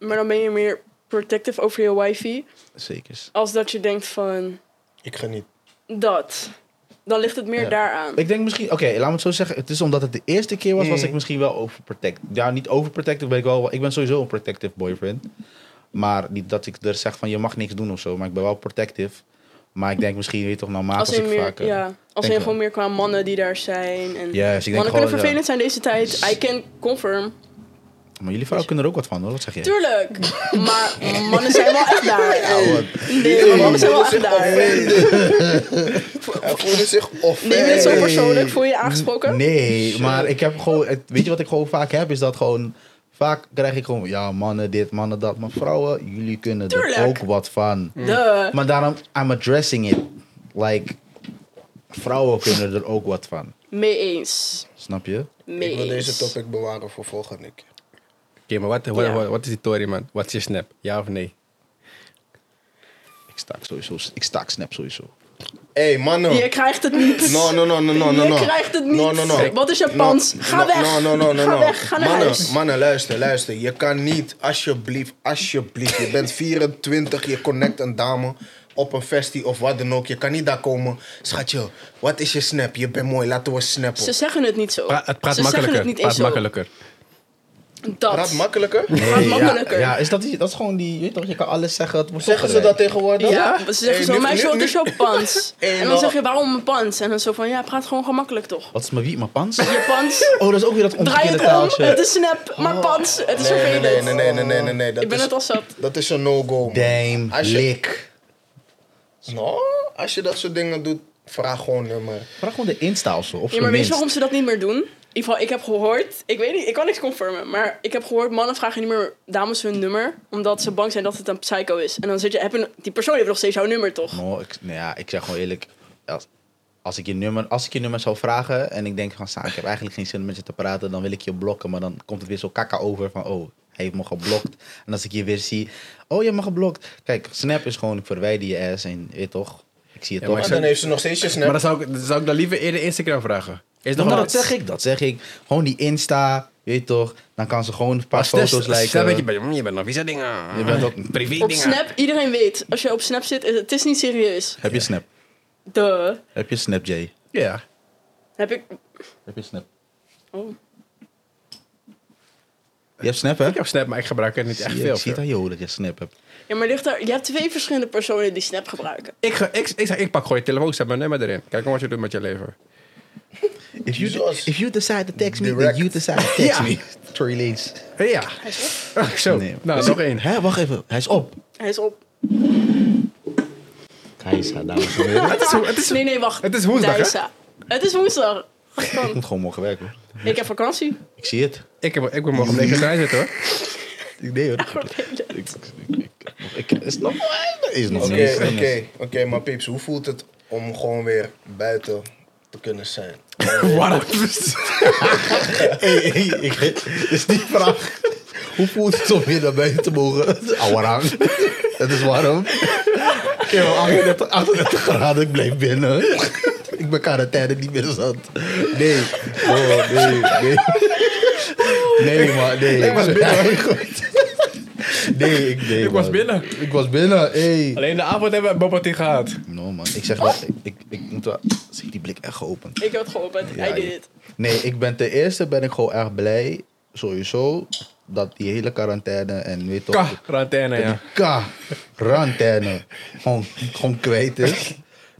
Speaker 3: Maar dan ben je meer protective over je wifi.
Speaker 1: zeker.
Speaker 3: Als dat je denkt van
Speaker 2: Ik geniet.
Speaker 3: dat. Dan ligt het meer
Speaker 1: Ja.
Speaker 3: daaraan.
Speaker 1: Ik denk misschien, oké, laat me het zo zeggen. Het is omdat het de eerste keer was, was
Speaker 2: Mm.
Speaker 3: Hmm.
Speaker 1: ik misschien wel overprotect. Ja, niet overprotective ben ik wel. Ik ben sowieso een protective boyfriend. Maar niet dat ik er zeg van je mag niks doen of zo. Maar ik ben wel protective. Maar ik denk misschien weet je toch normaal als,
Speaker 3: als in
Speaker 1: ik
Speaker 3: meer,
Speaker 1: vaker.
Speaker 3: ja, als
Speaker 1: denk
Speaker 3: in
Speaker 1: wel.
Speaker 3: gewoon meer qua mannen die daar zijn.
Speaker 1: Ja, dus ik
Speaker 3: En
Speaker 1: denk
Speaker 3: mannen kunnen
Speaker 1: gewoon, ja.
Speaker 3: vervelend zijn deze tijd. I can confirm.
Speaker 1: Maar jullie vrouwen kunnen er ook wat van hoor. Wat zeg je?
Speaker 3: Tuurlijk. Maar mannen zijn wel echt daar. Nee, maar mannen zijn wel echt daar.
Speaker 2: Hij voelde zich of.
Speaker 3: Neem je het zo
Speaker 1: Nee.
Speaker 3: persoonlijk? Voel je je aangesproken?
Speaker 1: Nee, maar ik heb gewoon. het- weet je wat ik gewoon vaak heb? Is dat gewoon. Vaak krijg ik gewoon. Ja, mannen dit, mannen dat. Maar vrouwen, jullie kunnen er
Speaker 3: Tuurlijk.
Speaker 1: ook wat van.
Speaker 3: Duh.
Speaker 1: Maar daarom, I'm addressing it. Like, vrouwen kunnen er ook wat van.
Speaker 3: Mee eens.
Speaker 1: Snap je?
Speaker 3: Mee
Speaker 2: Ik wil
Speaker 3: eens.
Speaker 2: deze topic bewaren voor volgende keer.
Speaker 4: maar wat, wat,
Speaker 3: Ja.
Speaker 4: wat, wat is die Tory, man? Wat is je snap? Ja of nee?
Speaker 1: Ik staak sowieso. Ik staak snap sowieso.
Speaker 2: Hé, hey, mannen.
Speaker 1: Oh.
Speaker 3: Je krijgt het niet.
Speaker 2: No, no, no, no, no, no.
Speaker 3: Je
Speaker 2: no.
Speaker 3: krijgt het niet.
Speaker 2: No, no, no.
Speaker 3: Wat is je pans? Ga
Speaker 2: no,
Speaker 3: weg.
Speaker 2: No, no, no, no,
Speaker 3: Ga
Speaker 2: no.
Speaker 3: weg. Ga naar
Speaker 2: mannen,
Speaker 3: huis.
Speaker 2: mannen, luister, luister. Je kan niet, alsjeblieft, alsjeblieft. Je bent 24, je connect een dame op een festie of wat dan ook. Je kan niet daar komen. Schatje, wat is je snap? Je bent mooi, laten we snappen.
Speaker 3: Ze zeggen het niet zo.
Speaker 4: Pra- het praat
Speaker 3: Ze zeggen
Speaker 4: makkelijker.
Speaker 3: het niet eens
Speaker 4: praat
Speaker 3: zo.
Speaker 4: makkelijker.
Speaker 3: Dat.
Speaker 2: Praat makkelijker?
Speaker 3: Praat
Speaker 1: ja,
Speaker 3: makkelijker.
Speaker 1: ja, is dat, die, dat is gewoon die. Je, weet toch, je kan alles zeggen. Het wordt
Speaker 2: Zeggen ze dat
Speaker 1: opgedraaid.
Speaker 2: tegenwoordig? Eh,
Speaker 3: Ja, ze zeggen
Speaker 2: Hey,
Speaker 3: zo,
Speaker 2: nu-
Speaker 3: meisje,
Speaker 2: nu-
Speaker 3: wat
Speaker 2: nu-
Speaker 3: is jouw pants?
Speaker 2: Hey,
Speaker 3: en dan
Speaker 2: nou-
Speaker 3: zeg je, waarom mijn pants? En dan zo van, ja, praat gewoon gemakkelijk toch.
Speaker 1: Wat is mijn wie? Mijn pants?
Speaker 3: Je pants,
Speaker 1: Oh, dat is ook weer dat
Speaker 3: draai
Speaker 1: omgekeerde
Speaker 3: het om, het
Speaker 1: taaltje.
Speaker 3: is snap,
Speaker 4: Oh.
Speaker 3: maar pants, het is
Speaker 2: Nee, nee,
Speaker 3: vervelend.
Speaker 2: nee, nee, nee, nee, nee, nee, nee. Dat
Speaker 3: Ik ben
Speaker 2: is,
Speaker 3: het al zat.
Speaker 2: Dat is een no-go. man.
Speaker 1: Damn,
Speaker 2: Als je-
Speaker 1: lik.
Speaker 2: Nou, als je dat soort dingen doet, vraag gewoon eh, nummer.
Speaker 1: Vraag gewoon de Insta of zo. Op
Speaker 3: Ja,
Speaker 1: zijn
Speaker 3: maar weet je
Speaker 1: minst.
Speaker 3: waarom ze dat niet meer doen? In ieder geval, ik heb gehoord, ik weet niet, ik kan niks confirmen, maar ik heb gehoord, mannen vragen niet meer dames hun nummer, omdat ze bang zijn dat het een psycho is. En dan zit je, heb je, die persoon heeft nog steeds jouw nummer toch?
Speaker 1: No, ik, nou ja, ik zeg gewoon eerlijk. Als, als, ik je nummer, als ik je nummer zou vragen en ik denk van... "Sa, ik heb eigenlijk geen zin om met je te praten, dan wil ik je blokken. Maar dan komt het weer zo kakka over van... Oh, hij heeft me geblokt. En als ik je weer zie... Oh, je hebt me geblokt. Kijk, Snap is gewoon... Ik verwijder je ass en je weet toch... Ik zie het
Speaker 4: Ja, maar
Speaker 1: toch.
Speaker 2: Maar
Speaker 4: zou-
Speaker 2: dan heeft ze nog steeds je snap.
Speaker 4: Maar dan zou ik, dan zou ik dan liever eerder Instagram vragen. Is
Speaker 1: Nou,
Speaker 4: nog
Speaker 1: dat zeg ik, dat zeg ik. Gewoon die Insta, je weet toch. Dan kan ze gewoon een paar foto's
Speaker 4: Snap
Speaker 1: lijken.
Speaker 4: je, bent- je bent nog visa dingen.
Speaker 1: Je bent ook-
Speaker 4: privé
Speaker 3: Op
Speaker 4: dingen.
Speaker 3: Snap, iedereen weet, als je op Snap zit, is- het is niet serieus.
Speaker 1: Heb je Snap?
Speaker 3: Duh.
Speaker 1: Heb je Snap, Jay?
Speaker 4: Ja.
Speaker 3: Heb ik,
Speaker 1: Heb je Snap?
Speaker 3: oh.
Speaker 1: Je hebt Snap, hè?
Speaker 4: Ik heb Snap, maar ik gebruik het niet echt
Speaker 1: Zie-
Speaker 4: veel.
Speaker 1: Ik zie het aan je hoor dat je Snap hebt.
Speaker 3: Ja, maar ligt daar, je hebt twee verschillende personen die Snap gebruiken.
Speaker 4: Ik, ga- ik, ik, zeg, ik pak gewoon je telefoon, zet mijn nummer erin. Kijk maar wat je doet met je leven.
Speaker 1: If you,
Speaker 2: Jesus.
Speaker 1: if you decide to text me, then
Speaker 2: Direct.
Speaker 1: you decide to text
Speaker 4: Ja.
Speaker 1: me. Tory Lanez.
Speaker 4: Ja. Zo,
Speaker 1: Nee.
Speaker 4: nou, nog één.
Speaker 1: Hé, wacht even. Hij is op.
Speaker 3: Hij is op.
Speaker 1: Kajsa, dames en heren.
Speaker 4: Het is, het is,
Speaker 3: Nee, nee, wacht.
Speaker 4: het is woensdag, hè?
Speaker 3: Dijsa. Het is woensdag.
Speaker 1: Ik moet gewoon morgen werken. hoor.
Speaker 3: Ik heb vakantie.
Speaker 1: Ik zie het.
Speaker 4: Ik, heb, ik ben morgen om 9 uur thuis zitten, hoor.
Speaker 1: Ik nee hoor. Ik, ik, ik, ik- is nog is nog
Speaker 2: Oké,
Speaker 1: niet.
Speaker 2: oké, oké, maar Pieps, hoe voelt het om gewoon weer buiten te kunnen zijn?
Speaker 4: Warm.
Speaker 1: Hey, hey, ik- dit is die vraag. Hoe voelt het om weer naar buiten te mogen? Awarang. Het is warm. Ik heb 38, 38 graden, ik blijf binnen. Ik ben quarantaine niet meer zat. Nee. Oh, nee, nee. Nee, maar nee.
Speaker 4: Ik was binnen.
Speaker 1: Nee, ik, nee,
Speaker 4: Ik was
Speaker 1: man.
Speaker 4: binnen.
Speaker 1: Ik was binnen, hey.
Speaker 4: Alleen de avond hebben we Bobbertie gehad.
Speaker 1: No man, ik zeg wel, ik, ik, ik moet wel, zie ik die blik echt geopend.
Speaker 3: Ik heb het geopend.
Speaker 1: Ja,
Speaker 3: Hij deed
Speaker 1: je-
Speaker 3: het.
Speaker 1: Nee, ik ben ten eerste ben ik gewoon erg blij, sowieso, dat die hele quarantaine en weet toch...
Speaker 4: Ka, quarantaine,
Speaker 1: dat
Speaker 4: ja.
Speaker 1: die quarantaine gewoon, gewoon kwijt is.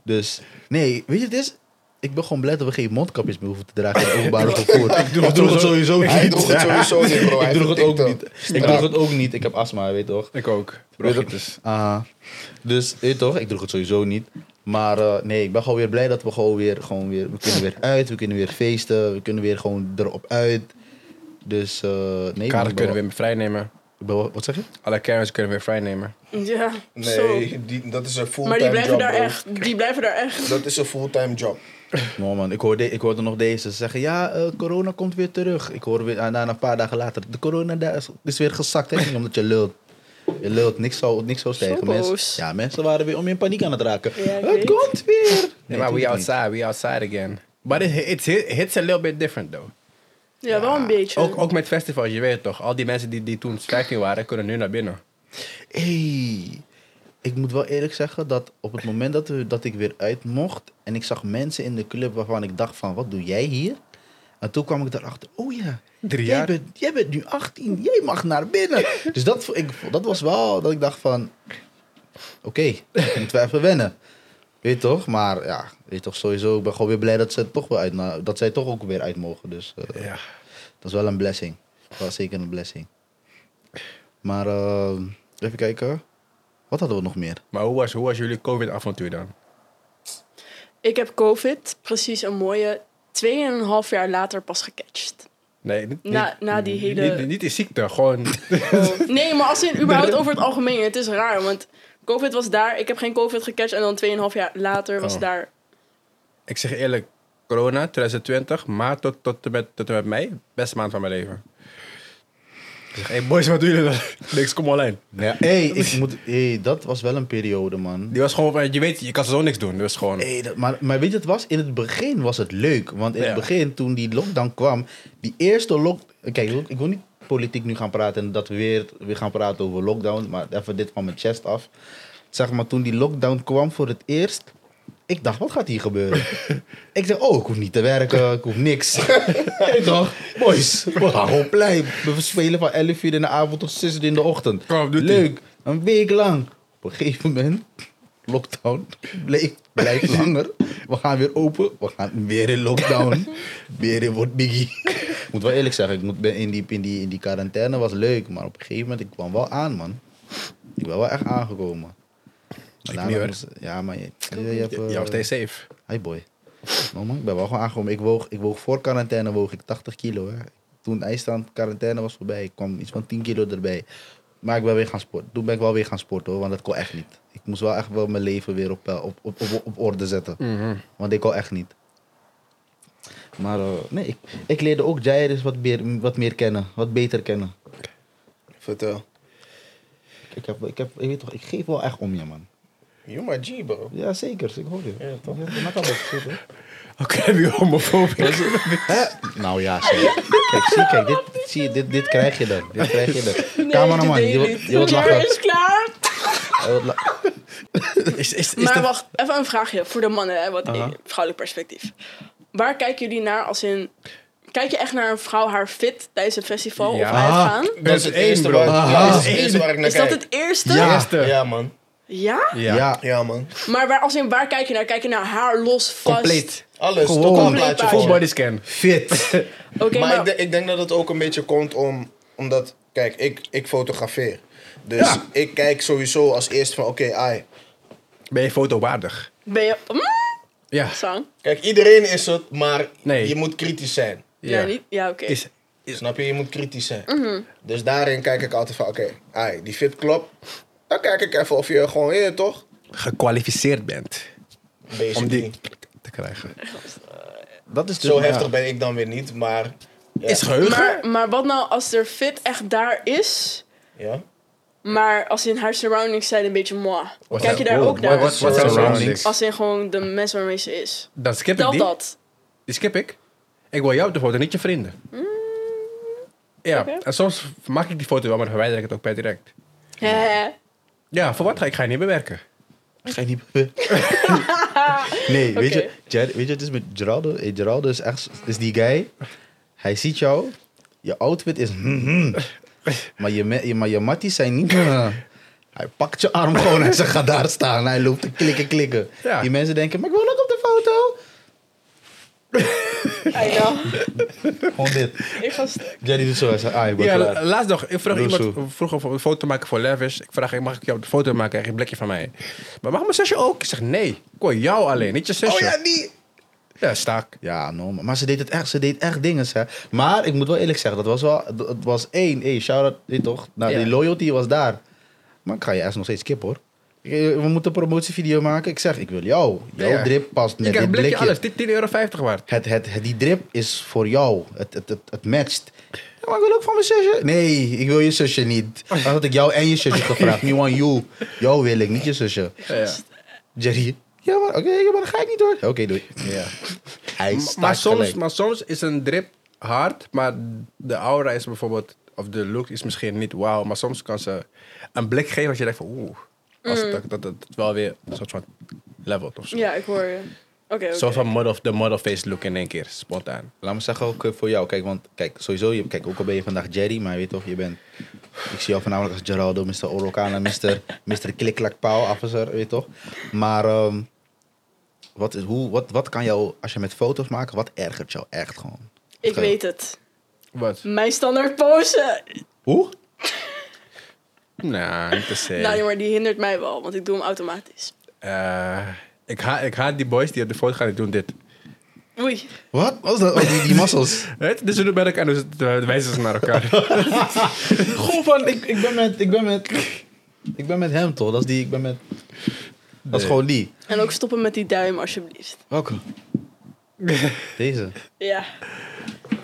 Speaker 1: Dus, nee, weet je het is? Ik ben gewoon blij dat we geen mondkapjes meer hoeven te dragen in het openbare vervoer. ik
Speaker 4: doe het sowieso-
Speaker 2: Hij doet het sowieso niet, bro. Hij
Speaker 1: Ik doe het ook
Speaker 2: vertikt
Speaker 1: niet.
Speaker 2: hem.
Speaker 1: Ik doe het ook niet. Ik heb astma, weet toch?
Speaker 4: Ik ook.
Speaker 1: Weet je
Speaker 4: Bronchitis.
Speaker 1: Aha. Dus, weet je toch, ik droeg het sowieso niet. Maar eh, nee, ik ben gewoon weer blij dat we gewoon weer, gewoon weer... We kunnen weer uit, we kunnen weer feesten, we kunnen weer gewoon erop uit. Dus, eh, nee. man,
Speaker 4: Kader
Speaker 1: ik ben
Speaker 4: kunnen we
Speaker 1: wel-
Speaker 4: weer vrijnemen.
Speaker 1: ik ben wel- Wat zeg je?
Speaker 4: Alle kermis kunnen we weer vrijnemen.
Speaker 3: Ja, zo.
Speaker 2: Nee, die, dat is een fulltime job.
Speaker 3: Maar die blijven,
Speaker 2: bro.
Speaker 3: daar echt, die blijven daar echt.
Speaker 2: Dat is een fulltime job.
Speaker 1: No Nou, man, ik hoorde, ik hoorde nog deze zeggen, ja, eh, corona komt weer terug. Ik hoor weer ah, daarna een paar dagen later, de corona daar is, is weer gezakt, hè? omdat je lult. Je lult, niks zou, niks zou stijgen.
Speaker 3: boos.
Speaker 1: Mensen, ja, mensen waren weer om je in paniek aan het raken.
Speaker 3: Ja, ik
Speaker 1: het
Speaker 3: weet.
Speaker 1: komt weer.
Speaker 4: Nee, maar we outside, we outside again. But it hits, hits a little bit different though.
Speaker 3: Ja, wel een beetje.
Speaker 4: Ook, ook met festivals, je weet het toch. Al die mensen die, die toen 15 waren, kunnen nu naar binnen.
Speaker 1: Hey, ik moet wel eerlijk zeggen dat op het moment dat, we, dat ik weer uit mocht en ik zag mensen in de club waarvan ik dacht van, wat doe jij hier? En toen kwam ik daarachter, oh ja,
Speaker 4: Drie
Speaker 1: jij
Speaker 4: jaar.
Speaker 1: bent, jij bent nu 18, jij mag naar binnen. dus dat, vo- ik, vo- dat was wel dat ik dacht van, oké, moeten we even wennen. Weet je toch? Maar ja, weet je toch sowieso, ik ben gewoon weer blij dat, ze toch weer uit, nou, dat zij toch ook weer uit mogen. Dus eh,
Speaker 4: Ja.
Speaker 1: dat is wel een blessing. Wel zeker een blessing. Maar eh, even kijken. Wat hadden we nog meer?
Speaker 4: Maar hoe was, hoe was jullie COVID-avontuur dan?
Speaker 3: Ik heb COVID precies een mooie 2,5 jaar later pas gecatcht.
Speaker 4: Nee, niet,
Speaker 3: Na- na die
Speaker 4: niet-
Speaker 3: hele-
Speaker 4: Niet, niet die ziekte, gewoon...
Speaker 3: Oh. Nee, maar als in überhaupt over het algemeen. Het is raar, want COVID was daar. Ik heb geen COVID gecatcht en dan 2,5 jaar later was
Speaker 4: Oh.
Speaker 3: daar.
Speaker 4: ik zeg eerlijk, corona 2020, maart tot, tot, en met, tot en met mei, beste maand van mijn leven. Ik zeg, hey boys, wat doen jullie dan? Niks, kom online.
Speaker 1: Ja. Hey, ik moet, hey, dat was wel een periode, man.
Speaker 4: Die was gewoon, van, je weet, je kan zo niks doen, dus gewoon...
Speaker 1: Hey, dat, maar, maar weet je, het was, in het begin was het leuk. Want in
Speaker 4: Ja.
Speaker 1: het begin, toen die lockdown kwam, die eerste lockdown. Kijk, ik wil niet politiek nu gaan praten en dat we weer, weer gaan praten over lockdown. Maar even dit van mijn chest af. Zeg maar, toen die lockdown kwam voor het eerst, ik dacht, wat gaat hier gebeuren? ik zeg, oh, ik hoef niet te werken, ik hoef niks. ik dacht, boys, we gaan gewoon blij. We spelen van 11 uur in de avond tot 6 uur in de ochtend.
Speaker 4: Call of Duty.
Speaker 1: Leuk, een week lang. Op een gegeven moment, lockdown, bleef, blijft langer. We gaan weer open, we gaan weer in lockdown. weer in wordt biggie. Ik moet wel eerlijk zeggen, ik moet, ben in, die, in, die, in die quarantaine was leuk. Maar op een gegeven moment, ik kwam wel aan, man. Ik ben wel echt aangekomen. Maar
Speaker 4: Ik
Speaker 1: daarna
Speaker 4: niet, hoor.
Speaker 1: moest- ja, maar je, je, je hebt...
Speaker 4: Jij
Speaker 1: eh,
Speaker 4: was stay safe.
Speaker 1: Hi boy. No man, ik ben wel gewoon aangekomen. Ik woog, ik woog voor quarantaine woog ik 80 kilo. Hè. Toen ijsstand quarantaine was voorbij, ik kwam iets van 10 kilo erbij. Maar ik ben weer gaan sporten. Toen ben ik wel weer gaan sporten hoor, want dat kon echt niet. Ik moest wel echt wel mijn leven weer op, eh, op, op, op, op orde zetten.
Speaker 4: Mhm.
Speaker 1: Want ik kon echt niet. Maar eh, nee, ik, ik leerde ook Jairus wat meer, wat meer kennen, wat beter kennen.
Speaker 2: Vertel.
Speaker 1: Ik, heb, ik, heb, ik weet toch, ik geef wel echt om je man.
Speaker 2: You my G, bro.
Speaker 1: Ja zeker, ik hoor je. Ja, toch?
Speaker 4: Oké, heb je homofobie?
Speaker 1: Nou ja, zie. Kijk, zie, kijk, dit, zie, je, dit, dit krijg je dan. Dit krijg je dan.
Speaker 3: Nee,
Speaker 1: Cameraman,
Speaker 3: dit
Speaker 1: je
Speaker 3: deed
Speaker 1: wilt,
Speaker 3: niet.
Speaker 1: je wilt
Speaker 3: Claire
Speaker 1: lachen.
Speaker 3: is klaar.
Speaker 1: Je wilt la-
Speaker 4: Is, is, is
Speaker 3: maar
Speaker 4: dat-
Speaker 3: wacht, even een vraagje voor de mannen, hè, wat
Speaker 1: Aha.
Speaker 3: vrouwelijk perspectief. Waar kijken jullie naar als in... Kijk je echt naar een vrouw haar fit tijdens een festival
Speaker 4: Ja.
Speaker 3: of uitgaan?
Speaker 4: Dat is één, bro.
Speaker 2: Waar, ja, dat is het
Speaker 4: Ah.
Speaker 2: eerste waar ik naar
Speaker 3: Is dat
Speaker 2: kijk.
Speaker 3: het eerste?
Speaker 4: Ja. het eerste?
Speaker 2: Ja, man.
Speaker 3: Ja?
Speaker 1: Ja.
Speaker 2: Ja, man.
Speaker 3: Maar waar, als in, waar kijk je naar? Kijk je naar haar los, vast?
Speaker 4: Compleet.
Speaker 2: Alles.
Speaker 1: Gewoon.
Speaker 2: Gewoon. Een
Speaker 3: Compleet
Speaker 2: plaatje
Speaker 3: plaatje.
Speaker 4: Full
Speaker 2: voor.
Speaker 4: body scan.
Speaker 1: Fit.
Speaker 3: Oké,
Speaker 2: maar
Speaker 3: maar...
Speaker 2: ik, denk- ik denk dat het ook een beetje komt om, omdat, kijk, ik, ik fotografeer. Dus
Speaker 4: Ja.
Speaker 2: ik kijk sowieso als eerst van, oké, ai.
Speaker 4: Ben je fotowaardig?
Speaker 3: Ben je... Mm,
Speaker 4: Ja.
Speaker 3: Sang?
Speaker 2: Kijk, iedereen is het, maar
Speaker 4: Nee.
Speaker 2: je moet kritisch zijn.
Speaker 3: Ja, niet? Ja, oké.
Speaker 4: Is,
Speaker 2: Snap je? Je moet kritisch zijn. Dus daarin kijk ik altijd van, oké, ai, die fit klopt. Dan kijk ik even of je gewoon, hé, toch?
Speaker 4: gekwalificeerd bent
Speaker 2: Basically.
Speaker 4: om die te krijgen.
Speaker 1: Dat is dus,
Speaker 2: Zo
Speaker 1: maar ja.
Speaker 2: heftig ben ik dan weer niet, maar... Ja.
Speaker 4: Is geheugen?
Speaker 3: Maar, maar wat nou als er fit echt daar is,
Speaker 2: ja.
Speaker 3: maar als in haar surroundings zijn een beetje moi?
Speaker 4: Wat
Speaker 3: Kijk je
Speaker 4: zijn-
Speaker 3: daar
Speaker 4: wow,
Speaker 3: ook naar?
Speaker 4: Wat Oh, wat zijn surroundings?
Speaker 3: Als in gewoon de mensen waarmee ze is.
Speaker 4: Dan skip ik
Speaker 3: Tel
Speaker 4: die.
Speaker 3: dat.
Speaker 4: Die skip ik. Ik wil jou op de foto, niet je vrienden. Ja,
Speaker 3: oké.
Speaker 4: en soms maak ik die foto wel, maar dan verwijder ik het ook per direct.
Speaker 3: Hè?
Speaker 4: Ja, voor wat ga ik? Ga je niet bewerken?
Speaker 1: Ga je niet... nee, weet, je,
Speaker 3: Oké.
Speaker 1: Ger- weet je, het is met Geraldo. Eh, Geraldo is echt... is die guy. Hij ziet jou. Je outfit is... hmm, maar, je, me- je, maar je matties zijn niet... hij pakt je arm gewoon en ze gaat daar staan. Hij loopt te klikken, klikken.
Speaker 4: Ja.
Speaker 1: Die mensen denken, maar ik wil ook op de foto.
Speaker 3: I know.
Speaker 1: Gewoon dit.
Speaker 3: Ik ga st-
Speaker 1: Jerry doet zo. Hij zegt, ah, ik ben
Speaker 4: Ja,
Speaker 1: klaar.
Speaker 4: la- laatst nog. Ik vroeg
Speaker 1: Doe zo.
Speaker 4: iemand vroeg of een foto maken voor Levis. Ik vraag, mag ik jou op de foto maken? Krijg je een blikje van mij? Maar mag mijn zusje ook? Ik zeg, nee. Ik wil jou alleen, niet je zusje.
Speaker 1: Oh ja, die...
Speaker 4: Ja, staak.
Speaker 1: Ja, no, maar- maar ze deed het echt. Ze deed echt dingen, hè. Maar ik moet wel eerlijk zeggen, dat was wel... Het het was één. Hey, shout-out, weet toch? Nou,
Speaker 4: Ja.
Speaker 1: Die loyalty was daar. Maar ik ga je echt nog steeds kip, hoor. Ik- eh, We moeten een promotievideo maken. Ik zeg, ik wil jou. Jouw
Speaker 4: Ja.
Speaker 1: drip past
Speaker 4: Je
Speaker 1: met
Speaker 4: krijgt
Speaker 1: dit
Speaker 4: een
Speaker 1: blikje.
Speaker 4: blikje, alles. Dit 10,50 euro waard.
Speaker 1: Het, het, het- die drip is voor jou. Het, het, het, het matcht. Ja, maar ik wil ook van mijn zusje. Nee, ik wil je zusje niet. Dan had ik jou en je zusje gevraagd. Me want you. Jou wil ik, niet je zusje.
Speaker 4: Ja, ja.
Speaker 1: Jerry. Ja, maar oké, ja, maar dan ga ik niet hoor. Oké, doei.
Speaker 4: Ja.
Speaker 1: Hij
Speaker 4: M-
Speaker 1: staat
Speaker 4: Maar, soms,
Speaker 1: gelijk.
Speaker 4: maar soms is een drip hard, maar de aura is bijvoorbeeld, of de look is misschien niet wauw, maar soms kan ze een blik geven als je denkt van oeh, als het- dat, dat, dat het wel weer een soort van levelt of zo.
Speaker 3: Mm. ja, ik hoor je. Oké, oké.
Speaker 4: Zo van model, de model face look in één keer, spontaan.
Speaker 1: Laat me zeggen ook eh, voor jou. Kijk, want kijk, sowieso, je, kijk, ook al ben je vandaag Jerry, maar je weet toch, je bent. Ik zie jou voornamelijk als Geraldo, Mr. Orokana, Mr. Mr. Klikklak Pauw, officer, weet toch? Maar ehm, wat, is, hoe, wat, wat kan jou, als je met foto's maakt, wat ergert jou echt gewoon?
Speaker 3: Ik weet het.
Speaker 4: Wat?
Speaker 3: Mijn standaard pose.
Speaker 1: Hoe?
Speaker 4: Nou, niet te zeggen.
Speaker 3: Nou, jongen, die hindert mij wel, want ik doe hem automatisch.
Speaker 4: Eh, ik, haat, ik haat die boys die op de foto gaan die doen dit.
Speaker 3: Oei.
Speaker 1: Wat? Wat is dat? Oh, die, die muscles.
Speaker 4: Weet, dus we doen bij elkaar en we wijzen ze naar elkaar.
Speaker 1: Gewoon van, ik, ik ben met, ik ben met, ik ben met hem toch? Dat is die, ik ben met. Dat is gewoon die.
Speaker 3: En ook stoppen met die duim, alsjeblieft.
Speaker 1: Welke? Deze.
Speaker 3: Ja.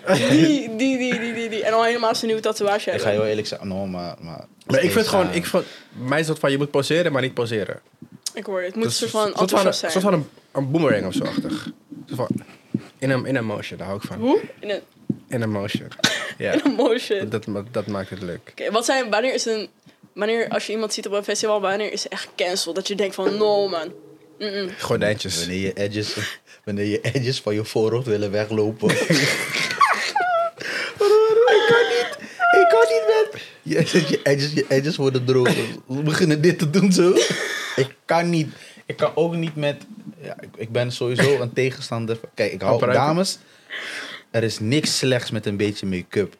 Speaker 3: Die, die, die, die, die, die. En al helemaal zijn nieuwe tatoeage
Speaker 1: Ik ga
Speaker 3: hebben.
Speaker 1: heel eerlijk zeggen, no, maar. maar,
Speaker 4: maar ik vind
Speaker 1: Deze,
Speaker 4: gewoon,
Speaker 1: eh,
Speaker 4: ik vind, mij is het van, je moet poseren, maar niet poseren.
Speaker 3: Ik hoor je. Het moet een
Speaker 4: Dat
Speaker 3: soort
Speaker 4: is
Speaker 3: van
Speaker 4: soort van een-
Speaker 3: enthousiast zijn.
Speaker 4: soort van een, een boomerang of zo achtig. Soort van- In een, in een motion, daar hou ik van.
Speaker 3: Hoe? In een,
Speaker 4: In een motion. Ja,
Speaker 3: in een motion.
Speaker 4: dat, ma- dat maakt het leuk.
Speaker 3: Oké, wat zijn, wanneer is een, wanneer als je iemand ziet op een festival, wanneer is ze echt cancelled? Dat je denkt van, no man. Mm-mm. Dus-
Speaker 4: Gordijntjes.
Speaker 1: Wanneer je edges, wanneer je edges van je voorhoofd willen weglopen. ik kan niet. Ik kan niet met. Je, je, edges, je edges worden droog. We beginnen dit te doen zo. Ik kan niet. Ik kan ook niet met. Ja, ik, ik ben sowieso een tegenstander. van- Kijk, ik hou
Speaker 4: Apparaten.
Speaker 1: dames. Er is niks slechts met een beetje make-up.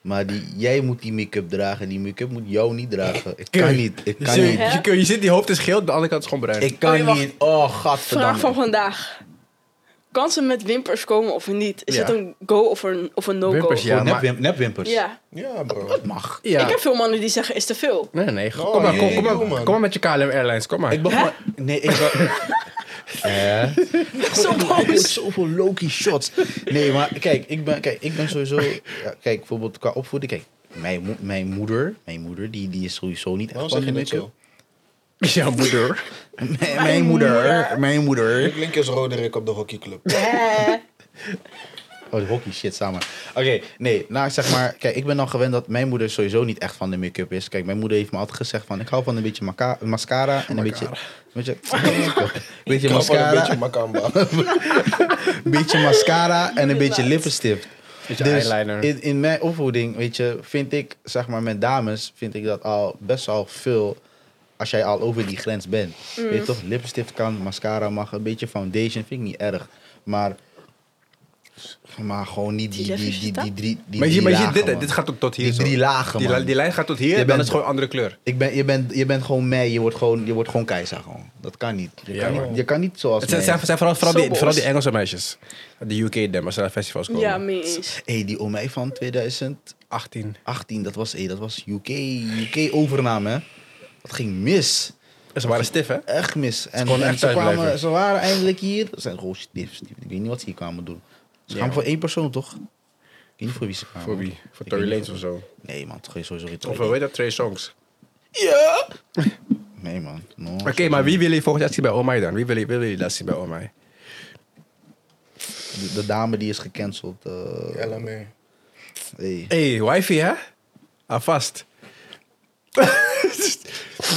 Speaker 1: Maar die, jij moet die make-up dragen. Die make-up moet jou niet dragen. Ik kan niet. Ik
Speaker 4: Je,
Speaker 1: kan
Speaker 4: ziet-
Speaker 1: niet.
Speaker 4: je, kun- je ziet die hoofd is geel, de andere kant is gewoon bruin.
Speaker 1: Ik
Speaker 3: Oké,
Speaker 1: kan
Speaker 3: Dus wacht.
Speaker 1: niet. Oh,
Speaker 3: Vraag
Speaker 1: gadverdamme.
Speaker 3: van vandaag. Kan ze met wimpers komen of niet? Is
Speaker 4: Ja.
Speaker 3: het een go of een, of een no-go?
Speaker 4: Wimpers, ja.
Speaker 1: Gewoon
Speaker 4: maar-
Speaker 1: nepwim- nepwimpers.
Speaker 3: Ja.
Speaker 2: Ja, bro.
Speaker 1: Mag.
Speaker 4: ja.
Speaker 3: Ik heb veel mannen die zeggen, is te veel.
Speaker 4: Nee, nee. Kom,
Speaker 2: Oh,
Speaker 4: maar, kom,
Speaker 2: jee,
Speaker 4: kom, maar,
Speaker 2: joh, man.
Speaker 4: kom maar met je KLM Airlines, kom maar.
Speaker 1: Ik begon... Nee, ik begon... Eh?
Speaker 3: Zo
Speaker 1: Ik heb
Speaker 3: boos.
Speaker 1: zoveel Loki shots. Nee, maar kijk, ik ben, kijk, ik ben sowieso... ja, kijk, bijvoorbeeld qua opvoeding. Kijk, mijn, mo- mijn moeder, mijn moeder die, die is sowieso niet echt
Speaker 2: Waarom
Speaker 1: van
Speaker 2: zeg je dat
Speaker 1: make-up.
Speaker 2: zo?
Speaker 4: Ja, moeder.
Speaker 1: Mijn, mijn moeder, mijn moeder.
Speaker 2: Ik link is Roderick op de hockeyclub.
Speaker 1: Oh, de hockey shit samen. Oké, nee, nou zeg maar, kijk, ik ben dan gewend dat mijn moeder sowieso niet echt van de make-up is. Kijk, mijn moeder heeft me altijd gezegd van, ik hou van een beetje maca- mascara en een beetje, een beetje, een beetje
Speaker 2: Ik hou van een
Speaker 1: mascara.
Speaker 2: beetje makamba.
Speaker 1: Een beetje mascara en een beetje lippenstift. Dus
Speaker 4: Beetje eyeliner.
Speaker 1: In, in mijn opvoeding, weet je, vind ik, zeg maar, met dames, vind ik dat al best wel veel als jij al over die grens bent. Weet je toch, lippenstift kan, mascara mag, een beetje foundation vind ik niet erg. Maar, maar gewoon niet die, die,
Speaker 3: Die
Speaker 1: die, die,
Speaker 3: lippenstift?
Speaker 1: drie- die
Speaker 4: Maar je ziet,
Speaker 1: drie
Speaker 4: maar je ziet
Speaker 1: lagen,
Speaker 4: dit, hè,
Speaker 1: man.
Speaker 4: dit gaat tot, tot hier.
Speaker 1: Die
Speaker 4: zo.
Speaker 1: drie lagen,
Speaker 4: Die,
Speaker 1: man.
Speaker 4: li- die lijn gaat tot hier,
Speaker 1: Je
Speaker 4: dan
Speaker 1: bent-
Speaker 4: is het gewoon andere kleur.
Speaker 1: Ik ben, je, bent, je bent gewoon mij, je wordt gewoon, je wordt gewoon keizer gewoon. Dat kan niet. Je,
Speaker 4: Ja,
Speaker 1: kan,
Speaker 4: man.
Speaker 1: niet, je kan niet zoals
Speaker 4: Het zijn,
Speaker 1: mij.
Speaker 4: zijn, zijn vooral, vooral, die,
Speaker 3: Sobo's.
Speaker 4: vooral die Engelse meisjes. De UK dem, als ze naar festivals komen.
Speaker 3: Ja, mee eens.
Speaker 1: Hé, die om mij van 2018,
Speaker 4: 18.
Speaker 1: dat was, hé, dat was UK, UK overname, hè. Dat ging mis.
Speaker 4: Ze waren stif, hè?
Speaker 1: Echt mis. En,
Speaker 4: gewoon
Speaker 1: en
Speaker 4: echt
Speaker 1: ze,
Speaker 4: thuis
Speaker 1: kwamen,
Speaker 4: blijven.
Speaker 1: ze waren eindelijk hier. Ze zijn gewoon stief, stief. Ik weet niet wat ze hier kwamen doen. Ze
Speaker 4: Ja,
Speaker 1: gaan
Speaker 4: man.
Speaker 1: voor één persoon, toch? Ik weet niet voor wie ze kwamen.
Speaker 4: Voor wie? Voor Tory Lanez of zo.
Speaker 1: Nee, man. Toch ga je sowieso weer
Speaker 4: Of
Speaker 1: Tory
Speaker 4: hoe heet dat? Trey Songs.
Speaker 1: Lanez. Nee, man. No,
Speaker 4: Oké, maar wie wil je volgend jaar zien bij Omai dan? Wie wil je, wil je dat zien bij Omai?
Speaker 1: De, de dame die is gecanceld. eh,
Speaker 2: LMA.
Speaker 1: hey.
Speaker 4: Hé, hey, wifey, hè? Ah, Alvast.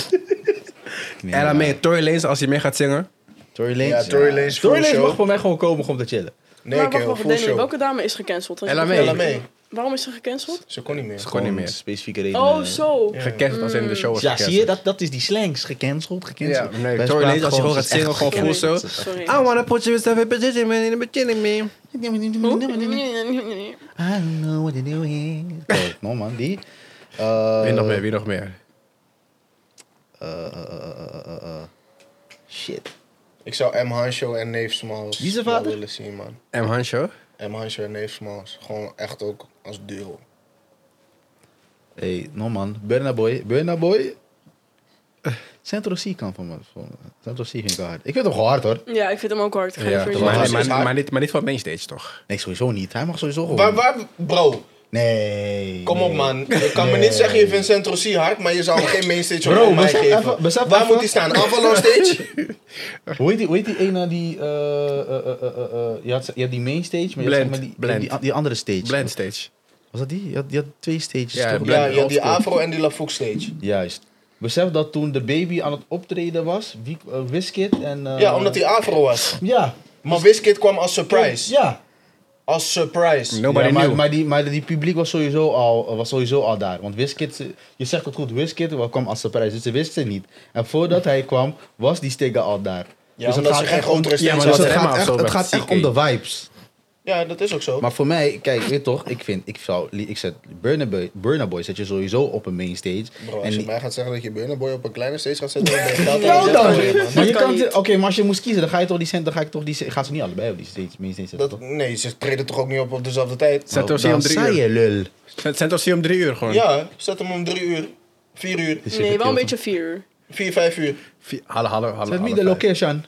Speaker 1: Nee,
Speaker 4: En dan
Speaker 1: maar-
Speaker 4: mee, Tory Lanez, als hij mee gaat zingen.
Speaker 1: Tory
Speaker 2: Ja,
Speaker 1: Lanez.
Speaker 2: Tory Lanez
Speaker 1: Tory
Speaker 2: full
Speaker 1: Lanez
Speaker 2: show.
Speaker 1: mag voor mij gewoon komen om te chillen.
Speaker 2: Nee,
Speaker 3: maar
Speaker 2: kerel,
Speaker 3: wacht, wacht,
Speaker 2: full
Speaker 3: Danny,
Speaker 2: show.
Speaker 3: welke dame is gecanceld? Als je
Speaker 4: LMA.
Speaker 3: dat-
Speaker 2: LMA.
Speaker 3: Waarom is ze gecanceld?
Speaker 2: Ze kon niet meer.
Speaker 4: Gewoon niet
Speaker 1: Gewoon
Speaker 4: meer.
Speaker 1: Specifieke reden.
Speaker 3: Oh, zo.
Speaker 2: Ja.
Speaker 4: Gecanceld als hij in de show was
Speaker 1: Ja,
Speaker 4: gecanceld.
Speaker 1: zie je, dat, dat is die slangs. Gecanceld, gecanceld.
Speaker 4: Ja, nee,
Speaker 1: Wij
Speaker 4: Tory
Speaker 1: praten
Speaker 4: Lanez, als je gewoon
Speaker 1: ze
Speaker 4: gaat
Speaker 1: is echt
Speaker 4: zingen, gewoon
Speaker 1: gecanceld.
Speaker 4: full show.
Speaker 3: Sorry.
Speaker 4: I wanna put yourself in position, man, in a beginning, man.
Speaker 3: Hoe?
Speaker 1: I don't know what to do here. Oh, no man, die. Eh,
Speaker 4: Wie nog meer, wie nog meer?
Speaker 1: eh, eh, eh, eh, eh, eh, eh. Shit.
Speaker 2: Ik zou M. Hancho en Neef Smalls
Speaker 1: Wie is zijn
Speaker 2: wel
Speaker 1: vader?
Speaker 2: willen zien, man.
Speaker 4: M. Hancho?
Speaker 2: M. Hancho en Neef Smalls. Gewoon echt ook als duo.
Speaker 1: Hey, no man. Burna Boy. Burna Boy. Centro C kan van me. van- Centro C vind ik wel hard. Ik vind hem gewoon hard hoor.
Speaker 3: Ja, ik vind hem ook hard. Ik ga
Speaker 4: Ja,
Speaker 3: niet voor
Speaker 4: maar,
Speaker 1: was-
Speaker 3: je
Speaker 4: maar,
Speaker 3: zeggen.
Speaker 4: maar, maar niet, maar niet van mainstage, toch?
Speaker 1: Nee, sowieso niet. Hij mag sowieso gewoon.
Speaker 2: Waar, waar, bro,
Speaker 1: Nee.
Speaker 2: kom op
Speaker 1: nee.
Speaker 2: man. Je kan me niet zeggen je vindt Centro C hard, maar je zou hem geen mainstage op
Speaker 1: Bro,
Speaker 2: mij
Speaker 1: besef
Speaker 2: geven.
Speaker 1: even- besef
Speaker 2: waar
Speaker 1: even-
Speaker 2: moet hij staan? Avalon stage?
Speaker 1: Hoe heet die, hoe heet die ene die. eh, eh, eh, eh, eh, eh, je, had, je had die main stage, maar je had
Speaker 4: Blend,
Speaker 1: zeg maar die,
Speaker 4: blend.
Speaker 1: die, die andere stage.
Speaker 4: Blend stage.
Speaker 1: Was dat die? Je had, je had twee stages.
Speaker 4: Ja,
Speaker 1: toch?
Speaker 4: blend.
Speaker 2: ja, je hebt die
Speaker 4: Oldschool.
Speaker 2: Afro en die LaFouk stage.
Speaker 1: Juist. Besef dat toen de baby aan het optreden was, wie, eh, Wizkid en... eh,
Speaker 2: Ja, omdat hij Afro was.
Speaker 1: Ja.
Speaker 2: Maar Wizkid kwam als surprise.
Speaker 1: Ja.
Speaker 2: Als surprise.
Speaker 4: Nobody
Speaker 1: Ja, maar,
Speaker 4: knew.
Speaker 1: maar, die, maar die publiek was sowieso al, was sowieso al daar. Want Wizkid, eh, je zegt het goed, Wizkid wel kwam als surprise, dus ze wisten het niet. En voordat hij kwam, was die sticker al daar. Dus
Speaker 2: Ja, omdat ze geen
Speaker 1: om,
Speaker 2: grotere
Speaker 1: ja,
Speaker 2: stage
Speaker 1: maar dus het,
Speaker 4: hadden.
Speaker 1: gaat echt,
Speaker 4: Helemaal
Speaker 1: het
Speaker 4: zo
Speaker 1: gaat
Speaker 4: met
Speaker 1: echt
Speaker 4: CK.
Speaker 1: om de vibes.
Speaker 2: Ja, dat is ook zo.
Speaker 1: Maar voor mij, kijk, weet toch, ik vind, ik zou, li- ik zet Burna Boy, Burna Boy zet je sowieso op een main stage.
Speaker 2: Bro,
Speaker 1: En
Speaker 2: als je
Speaker 1: die-
Speaker 2: mij gaat zeggen dat je Burner Boy op een kleine stage gaat zetten, dan ben je geld aan
Speaker 1: Nou
Speaker 2: het
Speaker 1: dan.
Speaker 2: zetten, man.
Speaker 1: Maar je
Speaker 3: Dat kan
Speaker 1: kan,
Speaker 3: niet.
Speaker 1: oké, maar als je moest kiezen, dan ga je toch die cent, dan ga ik toch die gaat ze niet allebei op die steeds minstens zetten.
Speaker 2: Dat, nee, ze treden toch ook niet op op dezelfde tijd?
Speaker 4: Zet ons hier om drie
Speaker 1: Nou, zei
Speaker 4: uur.
Speaker 1: je lul.
Speaker 4: Zet zet ons hier om drie uur gewoon.
Speaker 2: Ja, zet hem om drie uur, vier uur,
Speaker 3: Nee, wel een beetje vier uur.
Speaker 2: vier, vijf uur.
Speaker 4: Vier- Hallo, hallo, hallo.
Speaker 1: Zet me de
Speaker 4: hallo vijf.
Speaker 1: location.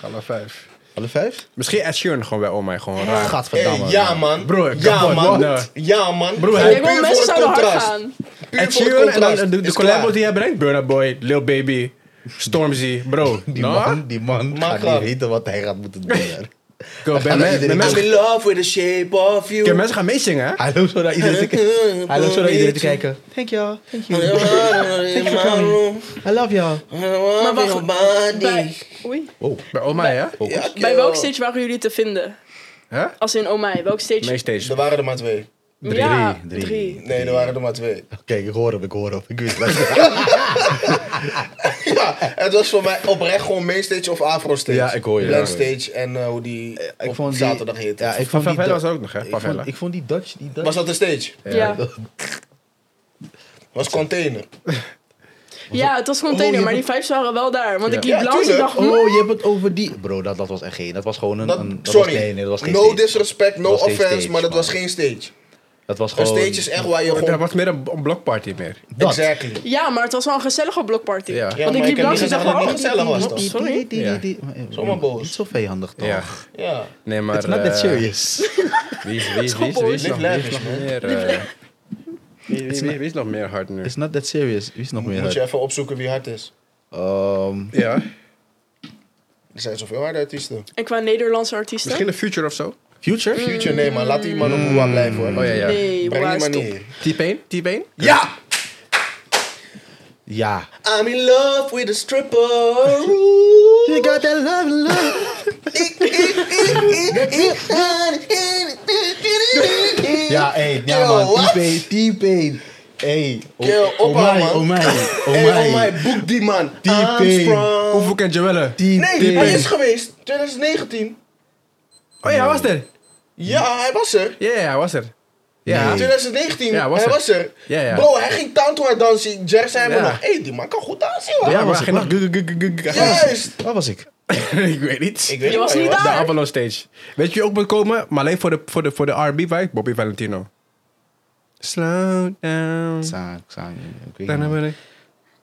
Speaker 4: Hallo vijf.
Speaker 1: Alle vijf?
Speaker 4: Misschien Ed Sheeran gewoon bij Omai, gewoon raar.
Speaker 1: Gadverdamme.
Speaker 2: Hey, Eh, ja, man.
Speaker 4: Broer,
Speaker 2: ja,
Speaker 4: come on,
Speaker 2: man.
Speaker 4: what?
Speaker 2: Ja, man.
Speaker 4: Broer,
Speaker 2: Puur
Speaker 4: hij-
Speaker 3: Ik wil
Speaker 2: voor
Speaker 3: mensen
Speaker 2: het
Speaker 3: zouden hard
Speaker 2: contrast.
Speaker 3: gaan.
Speaker 2: Puur
Speaker 4: Ed
Speaker 2: voor het
Speaker 4: Sheeran en dan
Speaker 2: contrast.
Speaker 4: de, de
Speaker 2: Is
Speaker 4: collabo
Speaker 2: klaar.
Speaker 4: die hij brengt. Burna Boy, Lil Baby, Stormzy, bro.
Speaker 1: Die
Speaker 4: Nou,
Speaker 1: man, die man
Speaker 2: Maar
Speaker 1: gaat
Speaker 2: klaar.
Speaker 1: niet weten wat hij gaat moeten doen. daar.
Speaker 4: Go, ben-
Speaker 1: naar
Speaker 4: men-
Speaker 1: iedereen
Speaker 4: men-
Speaker 2: I'm in love with the shape of you. Mm,
Speaker 4: Kijk, mensen gaan meezingen, hè?
Speaker 1: Hij loopt zo naar iedereen te, ki- hij loopt zo naar iedereen te kijken. Thank you, thank you. Thank you for coming. I love you.
Speaker 2: Maar
Speaker 3: Maar wacht, bij, oei.
Speaker 1: Oh,
Speaker 4: Bij Omai, hè?
Speaker 3: bij welk stage waren jullie te vinden?
Speaker 4: Hè?
Speaker 3: Als in, oh mij, welk stage?
Speaker 4: Nee,
Speaker 2: Er
Speaker 4: stage.
Speaker 2: waren er maar twee.
Speaker 1: drie,
Speaker 3: Ja,
Speaker 1: drie.
Speaker 3: drie.
Speaker 2: Nee, er waren er maar twee.
Speaker 1: Kijk, ik hoor hem, ik hoor hem. Ik wist het.
Speaker 2: Ja, het was voor mij oprecht gewoon mainstage of afro stage.
Speaker 1: Ja, ik hoor je,
Speaker 2: Blend
Speaker 1: ja, ik hoor je.
Speaker 2: stage en eh, hoe die
Speaker 1: Ik
Speaker 2: op
Speaker 1: vond die-
Speaker 2: zaterdag heet.
Speaker 1: Ja, ik
Speaker 4: Van
Speaker 1: vond die
Speaker 4: Favela
Speaker 1: Du-
Speaker 4: was er ook nog, hè?
Speaker 1: Ik
Speaker 4: Favela.
Speaker 1: vond, ik vond die Dutch, die Dutch.
Speaker 2: Was dat een stage?
Speaker 3: Ja.
Speaker 2: Was container.
Speaker 3: ja, het was
Speaker 1: Oh,
Speaker 3: container,
Speaker 1: je
Speaker 3: maar die
Speaker 1: hebt-
Speaker 3: vijf waren wel daar. Want ik liep
Speaker 2: Ja,
Speaker 3: langs en
Speaker 2: tuurlijk.
Speaker 3: dacht, hm,
Speaker 1: Oh, je hebt het over die. Bro, dat, dat was echt geen. Dat was gewoon een.
Speaker 2: Dat-
Speaker 1: een dat
Speaker 2: sorry,
Speaker 1: Was, nee, nee, dat was geen.
Speaker 2: no
Speaker 1: stage.
Speaker 2: disrespect, no
Speaker 1: Dat was geen
Speaker 2: offense,
Speaker 1: stage,
Speaker 2: maar dat
Speaker 1: man.
Speaker 2: was geen stage.
Speaker 1: Dat was
Speaker 2: Een
Speaker 1: gewoon.
Speaker 2: stage is echt waar je
Speaker 4: Dat
Speaker 2: gewoon...
Speaker 4: was meer een, een blokparty meer.
Speaker 1: dat.
Speaker 2: Exactly.
Speaker 3: Ja, maar het was wel een gezellige blokparty.
Speaker 4: Ja.
Speaker 2: Ja,
Speaker 3: Want
Speaker 2: maar
Speaker 3: ik
Speaker 2: ik
Speaker 3: liep
Speaker 2: heb niet
Speaker 3: langs en
Speaker 2: gezegd
Speaker 3: dacht,
Speaker 2: dat het
Speaker 3: oh,
Speaker 2: niet gezellig was, toch?
Speaker 3: sorry.
Speaker 4: Ja.
Speaker 2: Zomaar boos.
Speaker 1: Niet zo vijandig toch?
Speaker 4: Ja.
Speaker 2: Ja.
Speaker 4: Nee, maar...
Speaker 1: It's not that
Speaker 4: eh,
Speaker 1: serious.
Speaker 4: Wie is, wie is, wie
Speaker 2: Live
Speaker 4: is, wie is, nog, wie is
Speaker 2: lavish,
Speaker 4: nog
Speaker 2: man.
Speaker 4: meer... eh, Wie, wie- wie- wie is nog meer hard nu?
Speaker 1: It's not that serious. Wie is nog meer?
Speaker 2: Moet je
Speaker 1: uit?
Speaker 2: even opzoeken wie hard is.
Speaker 1: Ehm,
Speaker 4: Ja.
Speaker 2: Er zijn zoveel harde artiesten.
Speaker 3: En qua Nederlandse artiesten?
Speaker 4: Misschien een future of zo?
Speaker 1: Future?
Speaker 2: Future, nee man, laat die man op
Speaker 1: Mm.
Speaker 2: Hoa blijven hoor.
Speaker 4: Oh ja, ja.
Speaker 3: Nee,
Speaker 2: Breng
Speaker 3: waar
Speaker 2: die
Speaker 3: is
Speaker 2: maar
Speaker 3: top.
Speaker 2: neer.
Speaker 4: T-Pain? T-Pain?
Speaker 2: Ja!
Speaker 1: Ja.
Speaker 2: I'm in love with a stripper.
Speaker 1: You got that love, love. Ja, hé, ja,
Speaker 2: Yo,
Speaker 1: man.
Speaker 2: what?
Speaker 1: T-Pain, T-Pain. Hey,
Speaker 2: Kerel,
Speaker 1: oh, oh
Speaker 2: ophouden,
Speaker 1: mij,
Speaker 2: man.
Speaker 1: oh mij, oh
Speaker 2: Hey, oh
Speaker 1: mij.
Speaker 2: my, boek die man.
Speaker 1: Die
Speaker 2: Armstrong.
Speaker 4: Hoeveel kent je wel?
Speaker 1: Die
Speaker 2: Nee,
Speaker 1: tering.
Speaker 2: hij is geweest. 2019.
Speaker 4: Oh ja, hij was er.
Speaker 2: Ja, hij was er.
Speaker 4: Ja, ja, hij was er. Ja.
Speaker 1: Nee.
Speaker 2: 2019,
Speaker 4: Ja, was
Speaker 2: hij
Speaker 4: er.
Speaker 2: was er.
Speaker 4: Ja, ja.
Speaker 2: Bro, hij ging tantra dansen. Jer zei me
Speaker 4: Ja.
Speaker 2: nog, hey, die man kan goed dansen, hoor.
Speaker 4: Ja,
Speaker 1: was
Speaker 4: maar
Speaker 1: ik
Speaker 4: geen nog gug, gug, gug, gug.
Speaker 2: Juist.
Speaker 1: Waar was ik?
Speaker 4: Ik weet niet.
Speaker 2: Ik weet
Speaker 3: Je was
Speaker 2: waar
Speaker 3: niet
Speaker 4: De
Speaker 3: daar.
Speaker 4: Avalon Stage. Weet je wie ook moet komen? Maar alleen voor de, voor de, voor de R&B vibe. Bobby Valentino. Slow down.
Speaker 1: Saan, Saan. Ik weet niet.
Speaker 4: Staan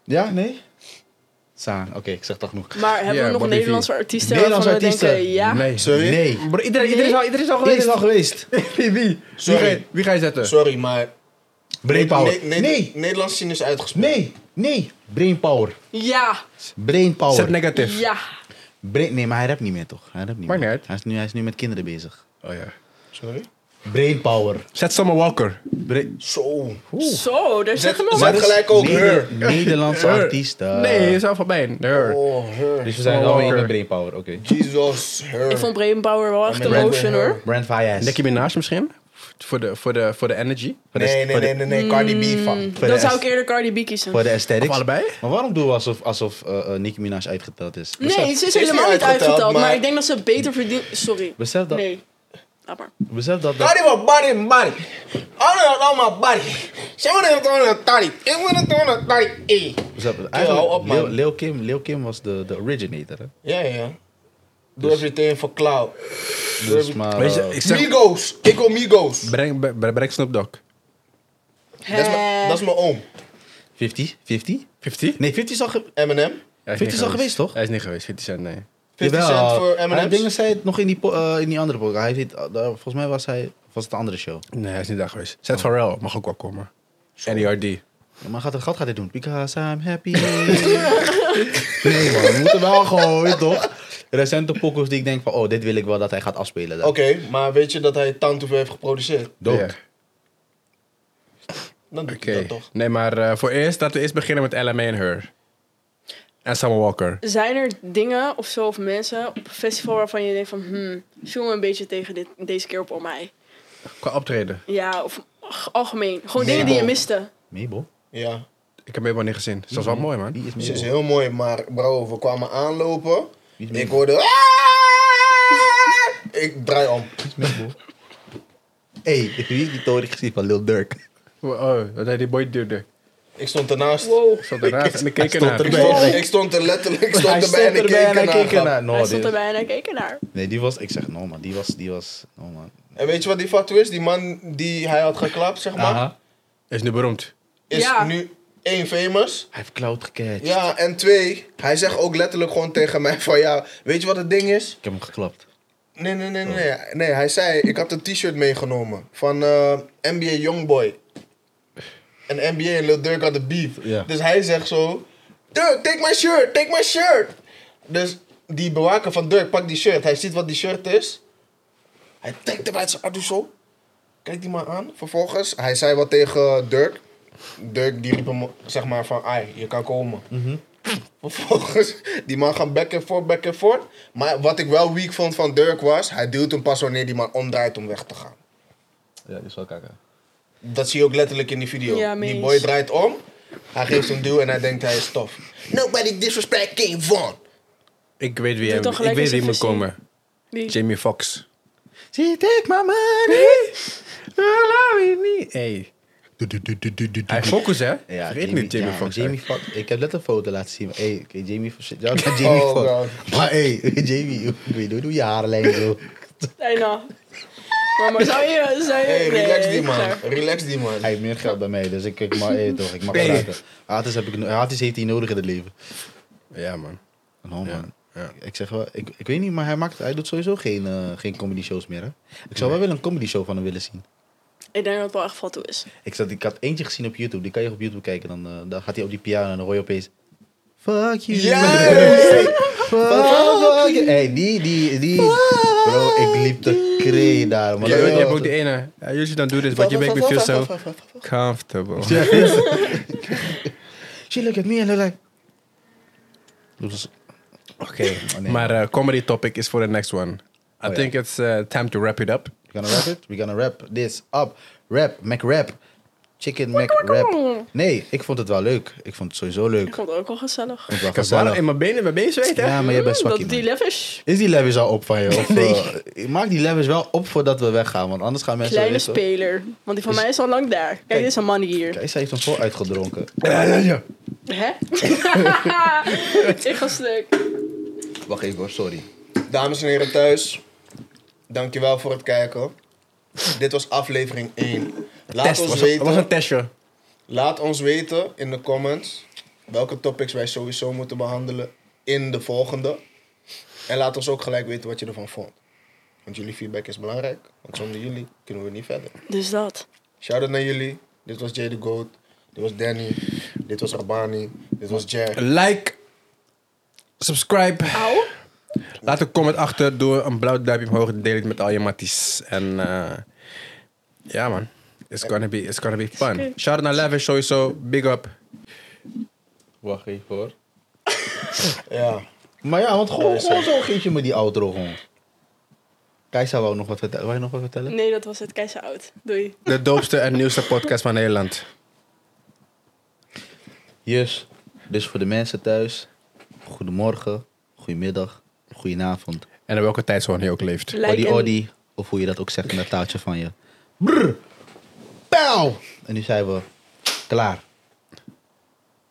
Speaker 1: Ja, nee? Saan, oké, ik zeg dat genoeg.
Speaker 3: Maar hebben
Speaker 4: Ja,
Speaker 3: we nog
Speaker 4: Bobby V.
Speaker 3: Nederlandse artiesten
Speaker 1: Nederlandse
Speaker 3: waarvan we
Speaker 1: artiesten.
Speaker 3: denken, ja?
Speaker 4: Nee.
Speaker 2: Sorry?
Speaker 1: Nee.
Speaker 4: Bro, iedereen, iedereen, is al, iedereen is al
Speaker 1: Dit is
Speaker 4: geweest.
Speaker 1: al geweest.
Speaker 4: wie? Wie,
Speaker 2: Sorry.
Speaker 4: ga je, wie ga je zetten?
Speaker 2: Sorry, maar...
Speaker 1: Brain power.
Speaker 2: Ne- ne-
Speaker 1: Nee,
Speaker 2: Nederlands zien is uitgesproken.
Speaker 1: nee, nee. Brain power.
Speaker 3: Ja.
Speaker 1: Brain
Speaker 4: Zet
Speaker 1: power.
Speaker 4: negatief.
Speaker 3: Ja.
Speaker 1: Brain, nee, maar hij rapt niet meer toch? Hij rapt niet
Speaker 4: Maakt
Speaker 1: meer.
Speaker 4: niet uit.
Speaker 1: Hij is, nu, hij is nu met kinderen bezig.
Speaker 4: Oh, ja.
Speaker 2: Sorry?
Speaker 1: Brain power.
Speaker 4: Zet Summer Walker.
Speaker 1: Brain-
Speaker 2: Zo.
Speaker 3: Zo, daar zit
Speaker 2: Zet,
Speaker 3: hem nog
Speaker 2: zet
Speaker 3: wat.
Speaker 2: gelijk ook
Speaker 1: Neder-
Speaker 2: her.
Speaker 1: Nederlandse
Speaker 4: Her.
Speaker 1: artiesten.
Speaker 4: Nee, is al van mij. Her.
Speaker 2: Oh, her.
Speaker 1: Dus we zijn
Speaker 4: Oh,
Speaker 1: alweer
Speaker 4: oké.
Speaker 1: met brain power. Oké.
Speaker 2: Jesus, her.
Speaker 3: Ik vond Brainpower wel echt een motion hoor.
Speaker 1: Brand Fires.
Speaker 4: Nicki Minaj misschien? Voor de, voor de, voor de energy.
Speaker 2: Nee, nee, nee, nee, nee. Cardi
Speaker 3: Mm.
Speaker 2: B, van.
Speaker 1: Voor de
Speaker 3: Dan zou
Speaker 1: est-
Speaker 3: ik eerder Cardi B kiezen.
Speaker 1: Voor de aesthetics.
Speaker 4: Of allebei?
Speaker 1: Maar waarom doen we alsof, alsof eh, eh, Nicki Minaj uitgeteld is?
Speaker 3: Nee, ze is
Speaker 2: Ze is niet
Speaker 3: helemaal niet
Speaker 2: uitgeteld,
Speaker 3: uitgeteld, maar
Speaker 2: maar-
Speaker 3: ik denk dat ze beter verdient. Sorry.
Speaker 1: Besef dat.
Speaker 3: Nee. Laat maar.
Speaker 1: Besef dat. dat
Speaker 2: Cardi was body, body. I don't know my body. She wanna throw on a thotty. She wanna throw on a thotty. Hey.
Speaker 1: besef dat.
Speaker 2: hou op,
Speaker 1: Eigenlijk,
Speaker 2: man.
Speaker 1: Lil, Lil Kim, Lil Kim was de, de originator. Hè?
Speaker 2: Ja, ja.
Speaker 4: Dus-
Speaker 2: Do everything for cloud.
Speaker 1: Dus, maar,
Speaker 4: Weet je,
Speaker 1: eh,
Speaker 4: ik zeg...
Speaker 2: Migos. Ik wil Migos.
Speaker 4: Breng, breng, breng Snoop Dogg.
Speaker 2: Dat is
Speaker 3: Eh.
Speaker 2: mijn- dat is mijn oom.
Speaker 1: 50? 50?
Speaker 4: 50?
Speaker 1: Nee, 50 is al, ge-
Speaker 2: Eminem.
Speaker 1: 50 is al geweest, toch?
Speaker 4: Hij is niet geweest, 50 cent, nee.
Speaker 2: 50
Speaker 1: Jawel,
Speaker 2: cent voor
Speaker 1: hij- Dingen
Speaker 2: M&M's.
Speaker 1: zei het nog in die, po- eh, in die andere podcast. Hij heeft, het- eh, volgens mij was hij was het een andere show.
Speaker 4: Nee, hij is niet daar geweest. Oh. Zet Pharrell mag ook wel komen. E NERD.
Speaker 1: Ja, maar gaat het gat gaat hij doen? Because I'm happy. nee man, we moeten wel gewoon, weet je toch? Recente pokkels die ik denk van, oh, dit wil ik wel dat hij gaat afspelen.
Speaker 2: Oké, maar weet je dat hij Tantoef heeft geproduceerd?
Speaker 1: Dope.
Speaker 4: Ja.
Speaker 2: Dan doet
Speaker 4: Oké.
Speaker 2: hij dat toch.
Speaker 4: Nee, maar eh, voor eerst laten we eerst beginnen met LMA en Her. En Summer Walker.
Speaker 3: Zijn er dingen of zo of mensen op een festival waarvan je denkt van, hmm, viel me een beetje tegen dit, deze keer op om mij?
Speaker 4: Qua optreden.
Speaker 3: Ja, of ach, algemeen. Gewoon
Speaker 2: Nee,
Speaker 3: dingen die je
Speaker 2: man.
Speaker 3: miste.
Speaker 1: Mabel?
Speaker 2: Ja.
Speaker 4: Ik heb hem helemaal niet gezien. Dus dat is wel mooi, man.
Speaker 1: Wie is
Speaker 2: Ze is
Speaker 1: Mabel?
Speaker 2: heel mooi, maar bro, we kwamen aanlopen.
Speaker 1: Niet meer.
Speaker 2: Ik hoorde... "Ah!" Ik draai om.
Speaker 1: Hé, hey, wie heeft die toren gezien van Lil Durk?
Speaker 4: Oh, dat hij die boy duurde.
Speaker 2: Ik stond ernaast.
Speaker 3: Wow.
Speaker 4: Ik zat ernaast en ik keek
Speaker 1: Hij stond
Speaker 4: ernaar.
Speaker 1: erbij.
Speaker 2: Oh, Ik stond er letterlijk, ik stond erbij en ik keek ernaar. grap.
Speaker 1: No,
Speaker 3: Hij stond
Speaker 1: dit-
Speaker 3: erbij en hij keek ernaar.
Speaker 1: Nee, die was, ik zeg, no man, die was, die was, no man.
Speaker 2: En weet je wat die factor is? Die man die hij had geklapt, zeg maar,
Speaker 1: Aha.
Speaker 4: Is nu beroemd.
Speaker 2: is
Speaker 3: Ja.
Speaker 2: nu één famous.
Speaker 1: Hij heeft cloud gecatcht.
Speaker 2: Ja, en twee, hij zegt ook letterlijk gewoon tegen mij van ja, weet je wat het ding is?
Speaker 1: Ik heb hem geklapt.
Speaker 2: Nee, nee, nee, nee. Nee, Nee, hij zei, ik had een t-shirt meegenomen van eh, NBA Youngboy. En NBA en Lil Durk hadden beef.
Speaker 1: Ja.
Speaker 2: Dus hij zegt zo, Durk, take my shirt, take my shirt. Dus die bewaker van Durk pakt die shirt. Hij ziet wat die shirt is. Hij trekt hem uit zijn arm zo. Kijkt die maar aan. Vervolgens, hij zei wat tegen Dirk. Dirk die riep hem zeg maar van, ai, je kan komen. Vervolgens, die man gaat back and forth, back and forth. Maar wat ik wel weak vond van Dirk was, hij duwt hem pas wanneer die man omdraait om weg te gaan.
Speaker 1: Ja, die is wel kakker.
Speaker 2: Dat zie je ook letterlijk in die video.
Speaker 3: Ja, mee
Speaker 2: die
Speaker 3: eens.
Speaker 2: boy draait om, hij geeft een duw en hij denkt hij is tof. Nobody disrespect King Von.
Speaker 4: Ik weet wie,
Speaker 3: Doe
Speaker 4: hij,
Speaker 3: toch
Speaker 4: ik
Speaker 3: gelijk
Speaker 4: weet
Speaker 3: eens
Speaker 4: wie moet
Speaker 3: even zien.
Speaker 4: komen.
Speaker 3: Die.
Speaker 4: Jamie Foxx.
Speaker 1: She take my money.
Speaker 4: Ah, Hey. Hij focus, hè?
Speaker 1: Ja,
Speaker 4: Vergeet niet Jamie
Speaker 1: ja,
Speaker 4: Foxx. hè.
Speaker 1: Jamie Foxx. Ik heb net een foto laten zien. Maar, hey, oké, Jamie Foxx. Ja, oké, Jamie
Speaker 2: Oh,
Speaker 1: Foxx. Maar hey, Jamie, ik weet niet hoe je haarlijn zo.
Speaker 3: Nee, nou. Maar, maar zou je... Zou je
Speaker 2: Hey,
Speaker 3: nee,
Speaker 2: relax die man.
Speaker 3: klaar.
Speaker 2: Relax die man.
Speaker 1: Hij heeft meer geld bij mij, dus ik, ik mag hey, toch, ik mag
Speaker 4: Nee.
Speaker 1: praten. Hatis, heb ik, no- Hatis heeft hij nodig in het leven.
Speaker 4: Ja, man.
Speaker 1: No, Oh, man.
Speaker 4: ja.
Speaker 1: Ik zeg wel, ik, ik weet niet, maar hij, maakt, hij doet sowieso geen, eh, geen comedy shows meer. Hè? Ik zou wel wel een comedy show van hem willen zien.
Speaker 3: Ik denk dat het wel echt foto is.
Speaker 1: Ik, zat, ik had eentje gezien op YouTube, die kan je op YouTube kijken. Dan, eh, dan gaat hij op die piano en dan hoor je opeens... Fuck you.
Speaker 2: Juist!
Speaker 1: Fuck you. Hey, die, die, die. Bro, ik liep te kree daar, man.
Speaker 4: Je, je
Speaker 1: Ja,
Speaker 4: hebt ook die e- ene. I usually don't do this, but you make me feel so comfortable.
Speaker 1: She look at me and look like... Dat was-
Speaker 4: Oké,
Speaker 1: nee.
Speaker 4: maar eh, comedy topic is for the next one. I
Speaker 1: ja.
Speaker 4: think it's eh, time to wrap it up.
Speaker 1: We gonna wrap it? We gonna wrap this up. Rap, Mac rap. Chicken Mac Wrap. Nee, ik vond het wel leuk. Ik vond het sowieso leuk.
Speaker 3: Ik
Speaker 1: Ik
Speaker 3: vond het ook wel gezellig.
Speaker 1: vond het
Speaker 4: Ik
Speaker 1: wel
Speaker 4: heb warm
Speaker 1: gezellig.
Speaker 4: in mijn benen, mijn benen zweten.
Speaker 1: Ja, maar jij bent zwakkie,
Speaker 3: dat die
Speaker 1: man.
Speaker 3: levish.
Speaker 1: Is die levis al op van je? Of,
Speaker 4: Nee.
Speaker 1: eh, maak die levis wel op voordat we weggaan, want anders gaan mensen...
Speaker 3: Kleine
Speaker 1: weet je-
Speaker 3: speler. Want die van
Speaker 1: Is-
Speaker 3: mij is al lang daar. Kijk, dit is een man hier.
Speaker 1: Kijk, zij heeft hem vol uitgedronken.
Speaker 4: Ja, ja, ja.
Speaker 3: Hè? ik ga stuk.
Speaker 1: Wacht even hoor, sorry.
Speaker 2: Dames en heren thuis, dankjewel voor het kijken. Dit was aflevering 1. Laat,
Speaker 4: Test,
Speaker 2: ons
Speaker 4: was, een-
Speaker 2: weten,
Speaker 4: was een testje.
Speaker 2: laat ons weten in de comments welke topics wij sowieso moeten behandelen in de volgende. En laat ons ook gelijk weten wat je ervan vond. Want jullie feedback is belangrijk, want zonder jullie kunnen we niet verder.
Speaker 3: Dus dat.
Speaker 2: Shout-out naar jullie. Dit was Jay the Goat. Dit was Danny. Dit was Rabani. Dit was Jack.
Speaker 4: Like, subscribe.
Speaker 3: Au.
Speaker 4: Laat een comment achter, doe een blauw duimpje omhoog, deel het met al je matties. En eh, ja man, it's gonna be, it's gonna be fun. Shout out naar Lavish sowieso, big up.
Speaker 1: Wacht even hoor.
Speaker 2: Ja.
Speaker 1: Maar ja, want gewoon, gewoon zo geef je me die outro gewoon. Kajsa wou nog wat vertellen. Wou je nog wat vertellen?
Speaker 3: Nee, dat was het. Keizer oud. Doei.
Speaker 4: De doopste en nieuwste podcast van Nederland.
Speaker 1: Yes. Dus voor de mensen thuis. Goedemorgen, goedemiddag, goedenavond.
Speaker 4: En in welke tijdzone je ook leeft.
Speaker 3: Like
Speaker 1: Oddy
Speaker 3: en-
Speaker 1: oddy. Of hoe je dat ook zegt in dat taaltje van je. Brr. Pauw. En nu zijn we klaar.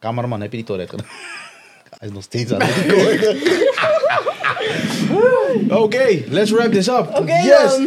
Speaker 1: Cameraman, heb je die toilet gedaan? Hij is nog steeds aan het koken. Oké, let's wrap this up.
Speaker 3: Oké
Speaker 1: yes.
Speaker 3: dan.